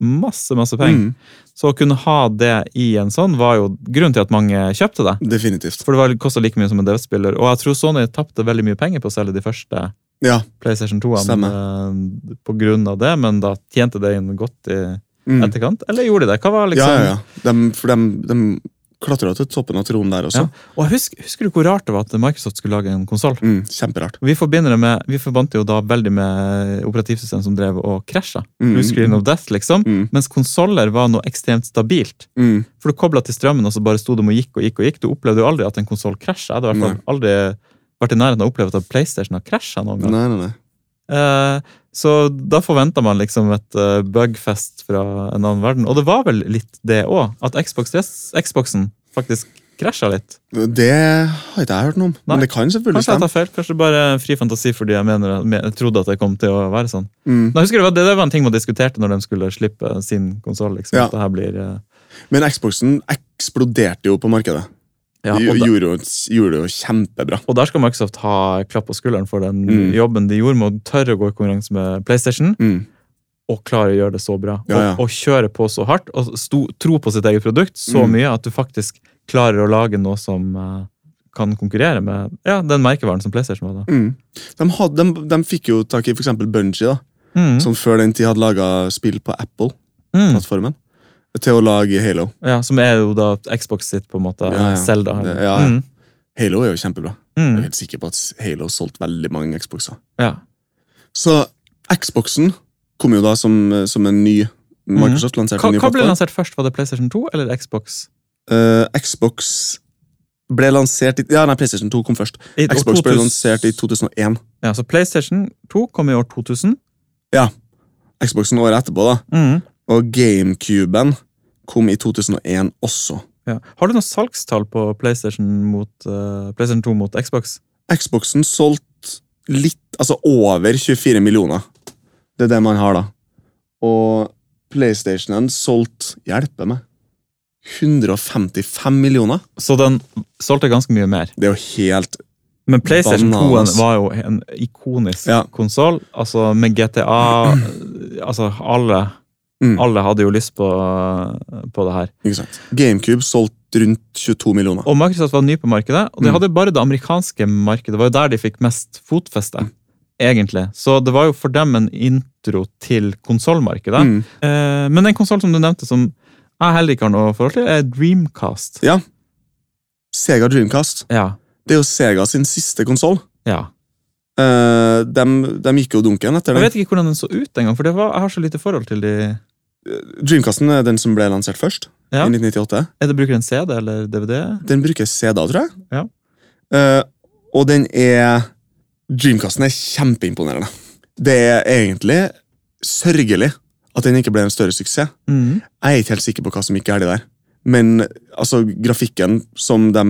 masse, masse penger.
Mm,
Så å kunne ha det i en sånn var jo grunnen til at mange kjøpte det.
definitivt.
For det kosta like mye som en DVD-spiller. Og jeg tror Sony tapte veldig mye penger på å selge de første
Ja.
PlayStation 2-ene eh, på grunn av det, men da tjente det inn godt i
Mm.
etterkant. Eller gjorde de det? Hva var liksom
ja, ja, ja. Dem- for de, klatra til toppen av tronen der også.
Og husk, Husker du hvor rart det var at Microsoft skulle lage en konsoll?
Mm, kjemperart.
Vi forbinder det med, vi forbandt jo da veldig med operativsystem som drev og krasja.
Mm.
Blue screen of death, liksom.
Mm.
Mens konsoller var noe ekstremt stabilt.
Mm.
For du kobla til strømmen, og så bare sto de og gikk og gikk. og gikk. Du opplevde jo aldri at en konsoll krasja. Jeg hadde i hvert fall aldri vært i nærheten av å oppleve at PlayStation har krasja noen gang.
Nei, nei, nei.
Eh, så da forventa man liksom et eh, bugfest fra en annen verden. Og det var vel litt det òg, at Xbox, Xboxen faktisk krasja litt.
Det har ikke jeg hørt noe om,
Nei.
men det kan selvfølgelig
Kanskje jeg
stemme.
tar feil, kanskje det bare er fri fantasi fordi jeg mener, jeg trodde at det kom til å være sånn.
Mm.
Nå husker jeg det, var- det, det var en ting man diskuterte når de skulle slippe sin konsoll. Liksom,
Ja.
at det her blir, eh,
Men Xboxen eksploderte jo på markedet.
ja,
De
og, da,
gjorde, jo- gjorde det jo kjempebra.
og der skal Microsoft ha klapp på skulderen for den
Mm.
jobben de gjorde med å tørre å gå i konkurranse med PlayStation,
Mm.
og klare å gjøre det så bra.
Ja, ja.
Og, og kjøre på så hardt, og sto, tro på sitt eget produkt så
Mm.
mye at du faktisk klarer å lage noe som eh, kan konkurrere med ja, den merkevaren som PlayStation var da.
Mm. De, hadde, de, de fikk jo tak i for eksempel Bungie, da,
Mm.
som før den tid hadde laga spill på Apple-plattformen,
Mm.
til å lage Halo.
Ja, som er jo da Xbox sitt, på en måte.
Ja, ja.
Zelda.
Det- ja, ja.
Mm.
Halo er jo kjempebra. Jeg er
Mm.
helt sikker på at Halo solgte veldig mange Xboxer.
ja.
Så Xboxen kom jo da som, som en ny Microsoft lanserte
Mm. Hva,
en ny
hva ble
plattform.
lansert først? Var det PlayStation 2 eller Xbox?
Eh, Xbox ble lansert i Ja, nei, PlayStation 2 kom først.
I år
Xbox ble
2000.
lansert i 2001.
Ja, så PlayStation 2 kom i år 2000.
Xboxen året etterpå, da. Og GameCuben kom i 2001 også.
Ja. Har du noe salgstall på PlayStation, mot, eh, PlayStation 2 mot Xbox?
Xboxen solgte litt Altså over 24 millioner. Det er det man har, da. Og PlayStationen solgte Hjelpe meg. 155 millioner?
Så den solgte ganske mye mer.
Det er jo helt
Men PlayStation 2
Bananas.
var jo en ikonisk
Ja.
konsoll. Altså med GTA eh, Altså alle,
Mm.
alle hadde jo lyst på, på det her.
Ikke sant. GameCube solgte rundt 22 millioner.
Og Microsoft var ny på markedet, og de
Mm.
hadde bare det amerikanske markedet. Det var jo der de fikk mest fotfeste, egentlig. Så det var jo for dem en intro til konsollmarkedet.
Mm.
Eh, men en konsoll som du nevnte, som jeg heller ikke har noe forhold til, er Dreamcast.
Ja. Sega Dreamcast.
Ja.
Det er jo Sega sin siste konsoll.
ja.
Eh, de, gikk jo dunken etter
Jeg
den.
vet ikke hvordan den så ut engang, for det var, jeg har så lite forhold til de
Dreamcasten er den som ble lansert først.
Ja.
i 1998.
Er det bruker en CD eller DVD?
Den bruker CD, tror jeg.
Ja.
Eh, og den er Dreamcasten er kjempeimponerende. Det er egentlig sørgelig at den ikke ble en større suksess.
Mm.
Jeg er ikke helt sikker på hva som gikk galt der. Men altså, grafikken som de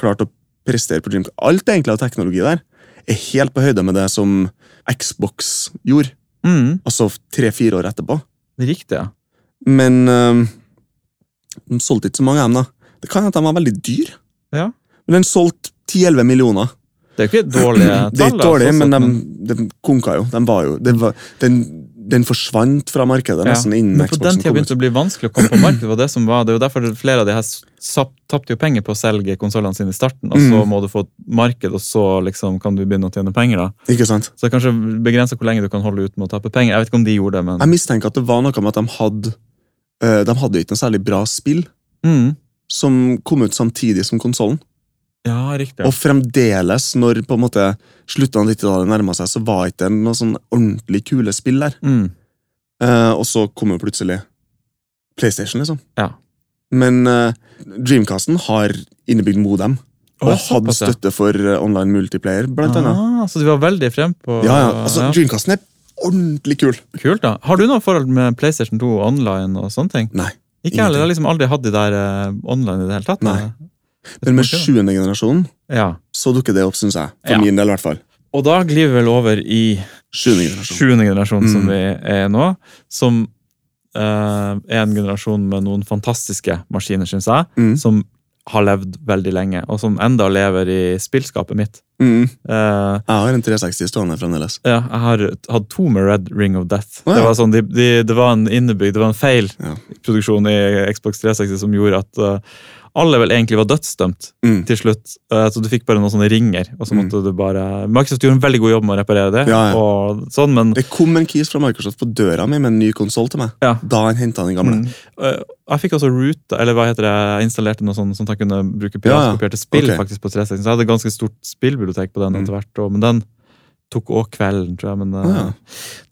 klarte å prestere på Dreamcast Alt egentlig av teknologi der er helt på høyde med det som Xbox gjorde.
Mm.
Altså tre-fire år etterpå.
Riktig, ja.
Men eh, de solgte ikke så mange av dem, da. Det kan hende de var veldig dyre.
Ja.
Men den solgte 10-11 millioner.
Det er jo ikke dårlige tall.
Det er ikke
da,
dårlig,
sånn
men
sett,
de, de konka jo. De var jo den var, den, den forsvant fra markedet
Ja.
nesten innen
Men på den
Xboxen
tida
kom
begynte
ut.
det å bli vanskelig å komme på markedet. var Det som var, det er jo derfor flere av de her s- sap- tapte jo penger på å selge konsollene sine i starten, og så
Mm.
må du få et marked, og så liksom kan du begynne å tjene penger. da.
Ikke sant?
Så det er kanskje begrensa hvor lenge du kan holde ut med å tape penger. Jeg vet ikke om de gjorde det, men
Jeg mistenker at det var noe med at de hadde eh, De hadde ikke noe særlig bra spill
mm.
som kom ut samtidig som konsollen.
Ja, riktig.
Og fremdeles, når på en måte slutten av 90-tallet nærma seg, så var ikke det noe sånn ordentlig kule spill der.
Mm.
Eh, og så kom jo plutselig PlayStation, liksom.
Ja.
Men eh, Dreamcasten har innebygd modem, og
Å,
hadde
såpass, ja.
støtte for eh, online multiplayer, blant annet.
Ah, så de var veldig frempå.
Ja, ja. Altså, Dreamcasten er ordentlig kul.
Kult, da. Har du noe forhold med PlayStation 2 online og sånne ting?
Nei,
Ikke heller. Jeg har liksom aldri hatt de der eh, online i det hele tatt. eh,
Nei. Men med sjuende generasjonen
Ja.
så dukker det opp, syns jeg. For
Ja.
min del, i hvert fall.
Og da glir vi vel over i
Sjuende generasjon.
sjuende generasjon, som
Mm.
vi er nå. Som eh, er en generasjon med noen fantastiske maskiner, syns jeg.
Mm.
Som har levd veldig lenge, og som enda lever i spillskapet mitt.
Mm.
Eh,
Jeg har en 360 stående fremdeles.
ja, jeg har hatt to med Red Ring of Death.
Å, ja.
Det var sånn, de, de, det var en innebygd, det var en feil
Ja.
i produksjonen i Xbox 360 som gjorde at eh, alle vel egentlig var dødsdømt
Mm.
til slutt. Eh, så du fikk bare noen sånne ringer, og så
Mm.
måtte du bare Microsoft gjorde en veldig god jobb med å reparere det,
Ja, ja.
og sånn, men
Det kom en keys fra Microsoft på døra mi med en ny konsoll til meg.
Ja.
Da han henta den gamle.
Mm. Eh, Jeg fikk også root, eller hva heter det, jeg installerte noe sånt sånn at jeg kunne bruke
Ja, ja.
piratkopierte spill
Ok.
faktisk på 360. Så jeg hadde et ganske stort spillbibliotek på den
Mm.
etter hvert, og, men den tok òg kvelden, tror jeg. Men, eh,
Ah,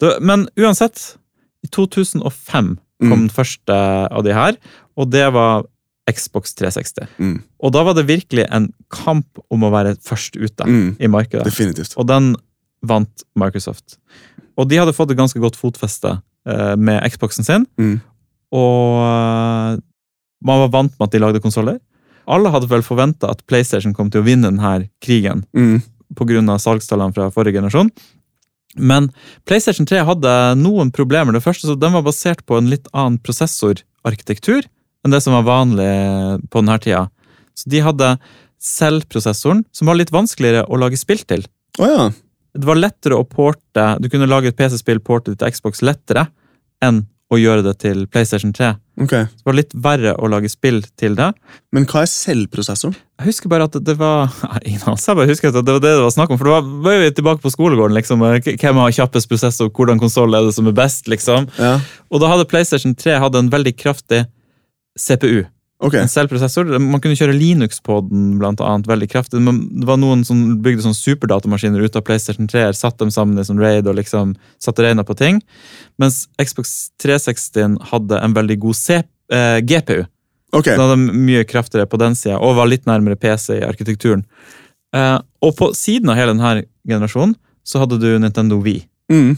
det, men uansett, i 2005 kom
Mm.
den første av de her, og det var Xbox 360.
Mm.
Og da var det virkelig en kamp om å være først ute
Mm.
i markedet.
Definitivt.
Og den vant Microsoft. Og de hadde fått et ganske godt fotfeste eh, med Xboxen sin.
Mm.
Og eh, man var vant med at de lagde konsoller. Alle hadde vel forventa at PlayStation kom til å vinne denne krigen
Mm.
pga. salgstallene fra forrige generasjon. Men PlayStation 3 hadde noen problemer. Det første, så Den var basert på en litt annen prosessorarkitektur enn det som var vanlig på denne tida. Så de hadde selvprosessoren, som var litt vanskeligere å lage spill til
Å ja.
det var lettere å porte Du kunne lage et PC-spill portet til Xbox lettere enn å gjøre det til PlayStation 3.
Ok.
Så det var litt verre å lage spill til det.
Men hva er selvprosessoren?
Jeg husker bare at det var Nei, ingen anelse. Jeg bare husker at det var det det var snakk om. For det var, var jo tilbake på skolegården, liksom. K- Hvem har kjappest prosess, og hvordan konsoll er det som er best, liksom.
Ja.
Og da hadde PlayStation 3 hadde en veldig kraftig CPU.
Ok.
En selvprosessor. Man kunne kjøre Linux på den, blant annet, veldig kraftig. Men det var noen som bygde sånn superdatamaskiner ut av PlayStation 3-er, satt dem sammen i sånn raid og liksom satte regna på ting. Mens Xbox 360 hadde en veldig god C eh, GPU.
Ok.
Den hadde mye kraftigere på den sida, og var litt nærmere PC i arkitekturen. Eh, og på siden av hele denne generasjonen så hadde du Nintendo Wii.
Mm.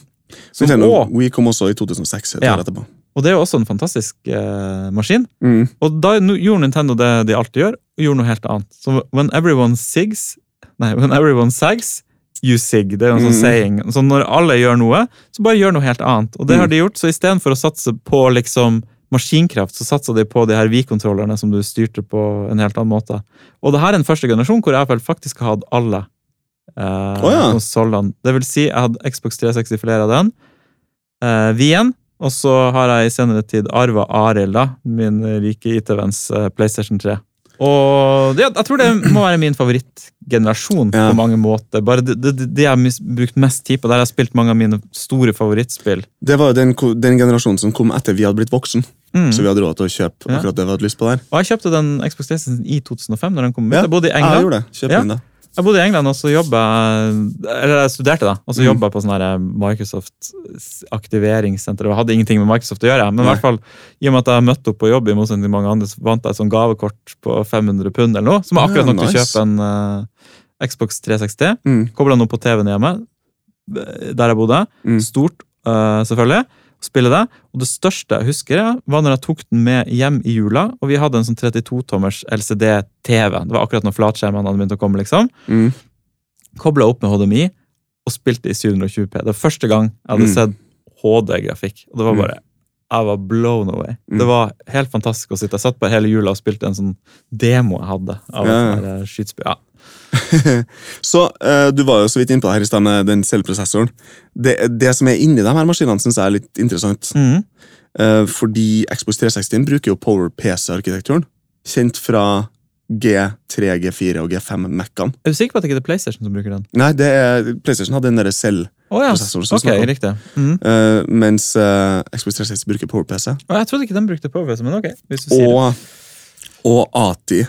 Som
Nintendo
også-
Wii kom også i 2006. et
Ja.
år etterpå.
og det er jo også en fantastisk eh, maskin.
Mm.
Og da no- gjorde Nintendo det de alltid gjør, og gjorde noe helt annet. Så when everyone sigs Nei, when everyone sags, you sig. Det er jo en
Mhm.
sånn saying. Så når alle gjør noe, så bare gjør noe helt annet. Og det har
Mm.
de gjort, så istedenfor å satse på liksom maskinkraft, så satsa de på de her Wii-kontrollerne som du styrte på en helt annen måte. Og det her er en første generasjon hvor jeg vel faktisk har hatt alle eh,
ja.
konsollene. Det vil si, jeg hadde Xbox 360 flere av den, eh, Wien, og så har jeg i senere tid arva Arild, da, min rike IT-venns eh, PlayStation 3. Og ja, jeg tror det må være min favorittgenerasjon
Ja.
på mange måter. Bare det, det, det jeg har mis- brukt mest tid på, der jeg har spilt mange av mine store favorittspill.
Det var jo den, ko- den generasjonen som kom etter vi hadde blitt voksen.
Mm.
Så vi hadde råd til å kjøpe
Ja.
akkurat det vi hadde lyst på der.
Og jeg kjøpte den Xbox 360 i 2005, når den kom ut.
Ja,
Jeg bodde i
Jeg
England.
gjorde det. Kjøp
Ja.
inn det.
Jeg bodde i England, og så jobba jeg Eller jeg studerte, da. Og så
Mm.
jobba jeg på sånn her Microsoft-aktiveringssenter. Jeg hadde ingenting med Microsoft å gjøre, men i
Nei.
hvert fall, i og med at jeg møtte opp på jobb, i motsetning til mange andre, så vant jeg et sånt gavekort på 500 pund eller noe, som var akkurat
Ja,
nok til å
Ah, nice.
kjøpe en eh, Xbox 360.
Mm.
Kobla den opp på TV-en hjemme, der jeg bodde.
Mm.
Stort, eh, selvfølgelig. Spille det. Og det største jeg husker, ja, var når jeg tok den med hjem i jula. Og vi hadde en sånn 32-tommers LCD-TV. Det var akkurat når flatskjermene hadde begynt å komme. liksom.
Mm.
Kobla opp med HDMI og spilte i 720P. Det var første gang jeg hadde
Mm.
sett HD-grafikk. Og det var
Mm.
bare Jeg var blown away.
Mm.
Det var helt fantastisk å sitte. Jeg satt bare hele jula og spilte en sånn demo jeg hadde
Ja,
av
ja.
et sånt her skytespill. Ja.
Så eh, du var jo så vidt inne på det her i sted med den selvprosessoren. Det, det som er inni de her maskinene, syns jeg er litt interessant.
Mhm.
Eh, fordi Xbox 360 bruker jo PowerPC-arkitekturen. Kjent fra G3, G4 og G5-Mac-ene.
Er du sikker på at det ikke er PlayStation som bruker den?
Nei, det er, PlayStation hadde den derre selv,
Å ja,
Prosessor som
ok,
snakker om.
riktig. Mhm.
eh, mens eh, Xbox 360 bruker PowerPC.
Å, Jeg trodde ikke den brukte PowerPC, men ok. hvis du sier det.
Og, og ATI,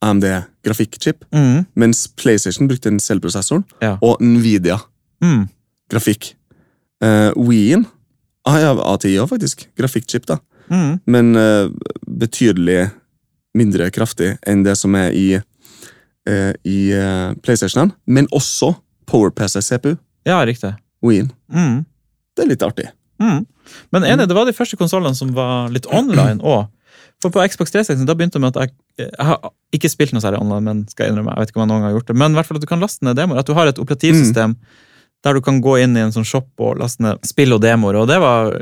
AMD-grafikkchip.
Mhm.
Mens PlayStation brukte den selvprosessoren.
Ja.
Og Nvidia-grafikk.
Mhm.
Uh, Wien ah, ja, ATI òg, faktisk. Grafikkchip, da.
Mhm.
men eh, betydelig mindre kraftig enn det som er i, eh, i eh, PlayStationen. Men også PowerPC CPU.
Ja, riktig.
Wien.
Mhm.
Det er litt artig.
Mhm. Men
Mm.
enig, det var de første konsollene som var litt online òg. For på Xbox 360 da begynte det med at jeg, jeg har ikke spilt noe særlig online, men skal jeg innrømme, jeg vet ikke om jeg noen gang har gjort det, men i hvert fall at du kan laste ned demoer. At du har et
Mm.
operativsystem der du kan gå inn i en sånn shop og laste ned spill og demoer, og det var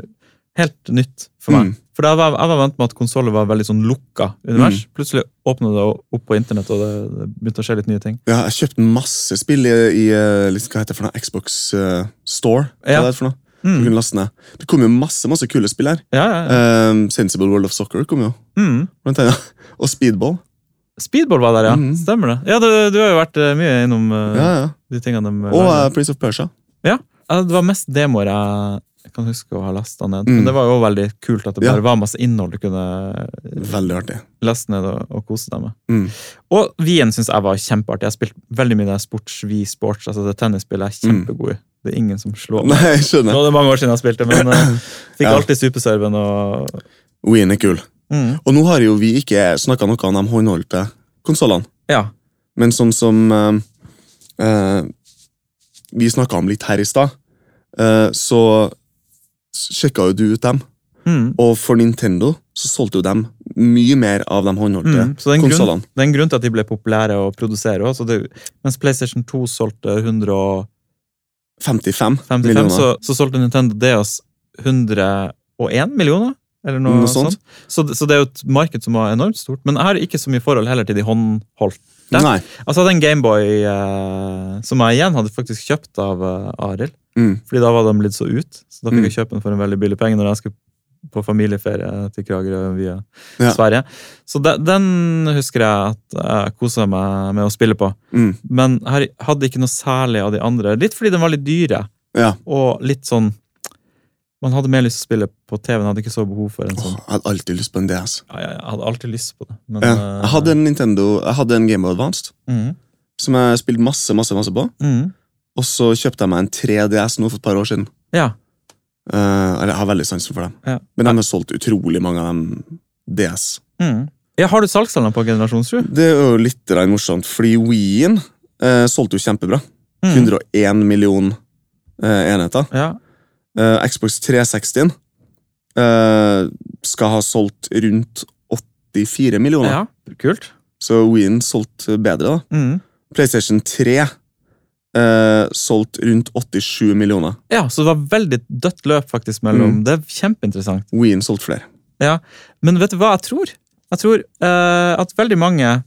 helt nytt for meg.
Mm.
For da var, jeg var vant med at konsoller var veldig sånn lukka univers.
Mm.
Plutselig åpna det opp på internett, og det, det begynte å skje litt nye ting.
Ja, jeg kjøpte masse spill i, i eh, liksom, hva heter det for noe? Xbox eh, Store. Hva
Ja.
er det for noe? Du
Mm.
kunne laste ned. Det kom jo masse masse kule spill her.
Ja, ja, ja.
Eh, Sensible World of Soccer kom jo.
Mm.
Blant annet. Og Speedball.
Speedball var der, ja.
Mhm.
Stemmer det. Ja, du, du har jo vært eh, mye innom eh,
Ja, ja.
de tingene. De,
Og
lager.
eh, Prince of Persia.
Ja, det var mest demoer jeg jeg kan huske å ha lasta ned.
Mm.
Men det var jo også veldig kult at det
Ja.
bare var masse innhold du kunne
Veldig artig.
laste ned og, og kose deg med.
Mm.
Og Wien syns jeg var kjempeartig. Jeg har spilt veldig mye sports, vi sports, altså det tennisspillet jeg er kjempegod i. Det er ingen som slår
Mm.
meg.
Nei, jeg skjønner.
Nå er det mange år siden jeg spilte, men eh, fikk
Ja.
alltid superserven og
Wien er kul.
mm.
Og nå har jo vi ikke snakka noe om de håndholdte konsollene.
Ja.
Men sånn som eh, eh, vi snakka om litt her i stad, eh, så sjekka jo du ut dem.
Mm.
Og for Nintendo så solgte jo dem mye mer av de håndholdte
Mm, så det er, en grunn,
konsollene.
det er en grunn til at de ble populære å produsere. Også, det, mens PlayStation 2 solgte 155,
55, millioner.
så, så solgte Nintendo DS 101 millioner. Eller noe,
Noe sånt.
sånt. Så, det- så det er jo et marked som var enormt stort. Men jeg har ikke så mye forhold heller til de håndholdt. der.
Nei.
Altså, jeg hadde en Gameboy eh, som jeg igjen hadde faktisk kjøpt av eh, Arild.
Mm.
Fordi da var de blitt så ut, så da fikk
Mm.
jeg kjøpe den for en veldig billig penge når jeg skulle på familieferie til Kragerø via
Ja.
Sverige. Så de, den husker jeg at jeg kosa meg med å spille på.
Mm.
Men her hadde ikke noe særlig av de andre. Litt fordi de var litt dyre,
Ja.
og litt sånn Man hadde mer lyst til å spille på TV, en hadde ikke så behov for en
Åh,
sånn.
jeg hadde alltid lyst på en DS.
Ja, jeg, jeg hadde alltid lyst på det, men
Ja.
eh,
Jeg hadde en Nintendo, jeg hadde en Gameboy Advanced
mhm,
som jeg spilte masse masse, masse på.
mhm.
Og så kjøpte jeg meg en 3DS nå for et par år siden.
Ja.
Eh, eller jeg har veldig sansen for dem.
Ja.
Men de har solgt utrolig mange av dem DS.
mhm. ja. Har du salgstallene på generasjon 7?
Det er jo litt grann morsomt, fordi Wien eh, solgte jo kjempebra. 101 million eh, enheter.
Mm. Ja.
Eh, Xbox 360 eh, skal ha solgt rundt 84 millioner.
ja. Kult.
Så Wien solgte bedre, da.
Mhm.
PlayStation 3 eh, solgt rundt 87 millioner.
Ja, så det var veldig dødt løp faktisk
Mm.
mellom Det er kjempeinteressant.
Wien solgt flere.
Men vet du hva jeg tror? Jeg tror eh, at veldig mange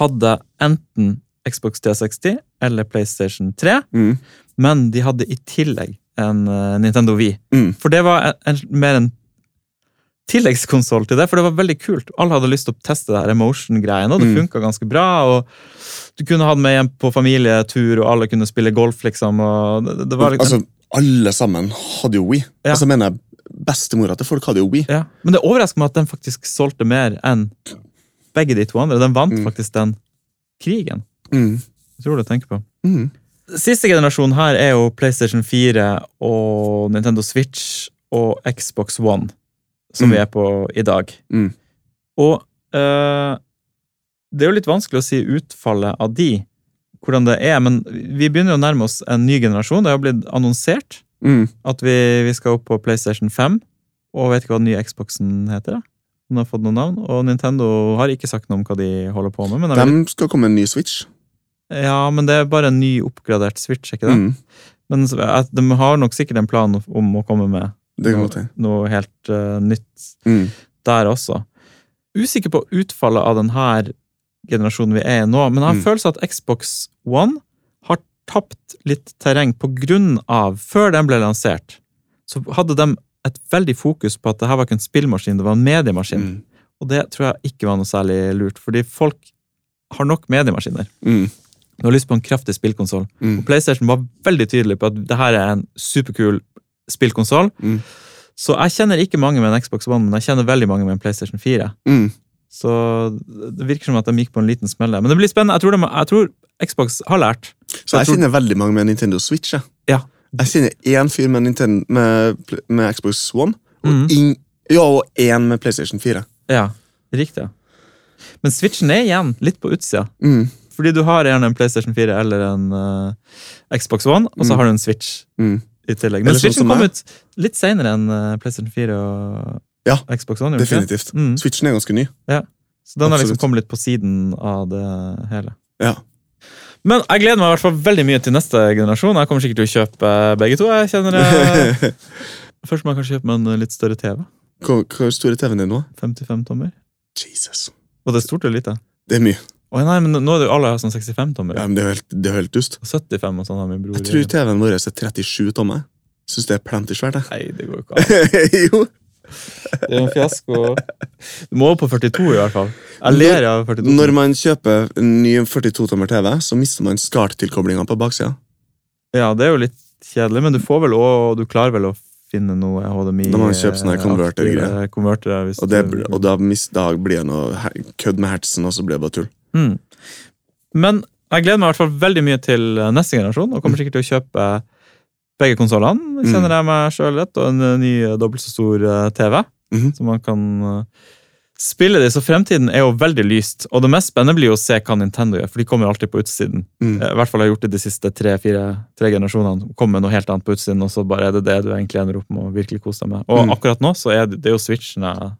hadde enten Xbox 360 eller PlayStation 3,
Mm.
men de hadde i tillegg en eh, Nintendo Wii.
Mm.
For det var en, en, mer en tilleggskonsoll til det, for det var veldig kult. Alle hadde lyst til å teste det her emotion-greien, og det
Mm.
funket funka ganske bra. og Du kunne ha den med hjem på familietur, og alle kunne spille golf, liksom. og det, det var liksom...
Altså, alle sammen hadde jo Wii.
Ja.
Altså, mener jeg bestemora til folk hadde jo Wii.
Ja, Men det overrasker meg at den faktisk solgte mer enn begge de to andre. Den vant
Mm.
faktisk den krigen.
Mm.
Jeg tror det jeg tenker på.
Mm.
Siste generasjon her er jo PlayStation 4 og Nintendo Switch og Xbox One, som
Mm.
vi er på i dag.
Mm.
Og eh, det er jo litt vanskelig å si utfallet av de, hvordan det er, men vi begynner jo å nærme oss en ny generasjon. Det har blitt annonsert
Mm.
at vi, vi skal opp på PlayStation 5, og vet ikke hva den nye Xboxen heter. da. Den har fått noen navn, og Nintendo har ikke sagt noe om hva de holder på med. Men, jeg
De skal komme med en ny Switch.
vet- ja, men det er bare en ny oppgradert Switch, er ikke det?
Mm.
Men så- at de har nok sikkert en plan om å komme med
Det kan godt hende.
noe helt eh, nytt
Mm.
der også. Usikker på utfallet av denne generasjonen vi er i nå, men jeg har
Mm.
følelse av at Xbox One har tapt litt terreng på grunn av Før den ble lansert, så hadde de et veldig fokus på at det her var ikke en spillmaskin, det var en mediemaskin.
Mm.
Og det tror jeg ikke var noe særlig lurt, fordi folk har nok mediemaskiner.
Mm.
Du har lyst på en kraftig spillkonsoll.
Mm.
Og PlayStation var veldig tydelig på at det her er en superkul spillkonsoll.
Mm.
Så jeg kjenner ikke mange med en Xbox One, men jeg kjenner veldig mange med en PlayStation 4.
Mm.
Så det virker som at de gikk på en liten smell der. Men det blir spennende. Jeg tror, de, jeg tror Xbox har lært.
Så jeg
Jeg tror-
kjenner veldig mange med Nintendo Switch. Jeg,
Ja.
jeg kjenner én fyr med, Nintendo, med, pl- med Xbox One, og
Mhm.
ing- ja, og én med PlayStation 4.
Ja, riktig. Men Switchen er igjen litt på utsida.
Mm.
Fordi du har gjerne en PlayStation 4 eller en eh, Xbox One, og så
Mm.
har du en Switch
Mm.
i tillegg.
Eller
Men
sånn
Switchen
som
kom
meg.
ut litt seinere enn eh, PlayStation 4 og
Ja,
Xbox One. gjorde den ikke det?
Definitivt.
Mm.
Switchen er ganske ny.
Så den har liksom
Absolutt.
kommet litt på siden av det hele.
Ja.
Men jeg gleder meg i hvert fall veldig mye til neste generasjon. Jeg kommer sikkert til å kjøpe begge to. jeg kjenner det. Først må jeg kanskje kjøpe meg en litt større TV.
Hvor hvor stor er TV-en din nå?
55 tommer.
Jesus.
Og det er stort eller lite?
Det er mye.
Å nei, men Nå er det jo alle har sånn 65 tommer.
Ja, men det er jo helt, det er jo helt dust.
75 og sånn har min bror.
Jeg tror TV-en vår er 37 tommer. Syns det er plenty svært, jeg.
Nei, det går jo ikke an.
jo.
Det er jo en fiasko. Du må opp på 42 i hvert fall. Jeg ler av 42.
Når man kjøper en ny 42-tommer TV, så mister man SCART-tilkoblinga på baksida.
Ja, det er jo litt kjedelig, men du får vel også, du klarer vel å finne noe HDMI
Da må man kjøpe sånne
eh,
konverter-greier.
aktive konvertere, hvis
Og, det,
du-
og da, mis- da blir det noe he- kødd med hertsen, og så blir det bare tull.
Mm. Men jeg gleder meg i hvert fall veldig mye til eh, neste generasjon, og
Mm.
kommer sikkert til å kjøpe begge konsollene. Kjenner jeg meg sjøl rett, og en eh, ny eh, dobbelt så stor eh, TV.
Mhm.
Så man kan eh, spille det. Så fremtiden er jo veldig lyst, og det mest spennende blir jo å se hva Nintendo gjør, for de kommer jo alltid på utsiden.
Mm.
Eh, I hvert fall har jeg gjort det de siste tre-fire tre generasjonene. Kommer med noe helt annet på utsiden, og så bare er det det du egentlig ender opp med å virkelig kose deg med. Og
Mm.
akkurat nå så er det, det er jo Switchen jeg
Det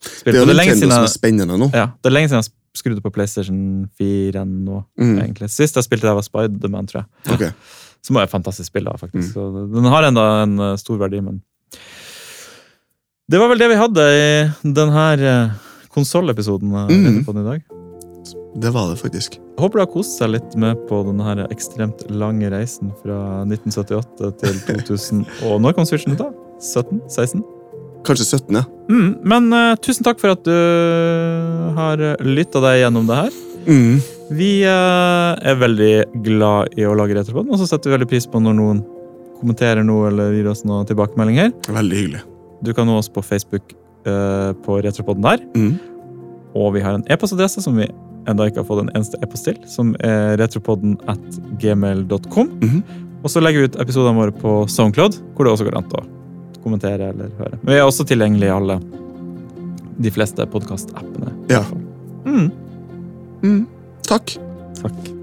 spiller
er jo
på. Det er lenge
Nintendo
siden
som
jeg
er spennende nå.
ja, det er lenge siden jeg sp- skrudde på PlayStation 4 nå,
Mm.
egentlig. Sist jeg spilte der, var Spiderman, tror jeg.
Ok.
Som er et fantastisk spill, da,
Mm.
faktisk. Så den har enda en eh, stor verdi, men Det var vel det vi hadde i denne konsollepisoden eh,
Mm.
Retropodden i dag.
Det var det faktisk.
Håper du har kost seg litt med på denne her ekstremt lange reisen fra 1978 til 2000. Og når kom Switchen ut, da? 17? 16?
Kanskje 17, ja.
Mm, men eh, tusen takk for at du har lytta deg gjennom det her.
Mm.
Vi eh, er veldig glad i å lage retropod, og så setter vi veldig pris på når noen kommenterer noe eller gir oss noen tilbakemeldinger.
Veldig hyggelig.
Du kan nå oss på Facebook eh, på retropoden der,
Mm.
og vi har en e-postadresse som vi enda ikke har fått en eneste e-post til, som er retropodden at gmail.com.
Mhm.
Og så legger vi ut episodene våre på Soundcloud, hvor det også går an å kommentere eller høre. Men vi er også tilgjengelig i alle de fleste podkastappene.
Ja.
Mm.
Mm. Takk.
Takk.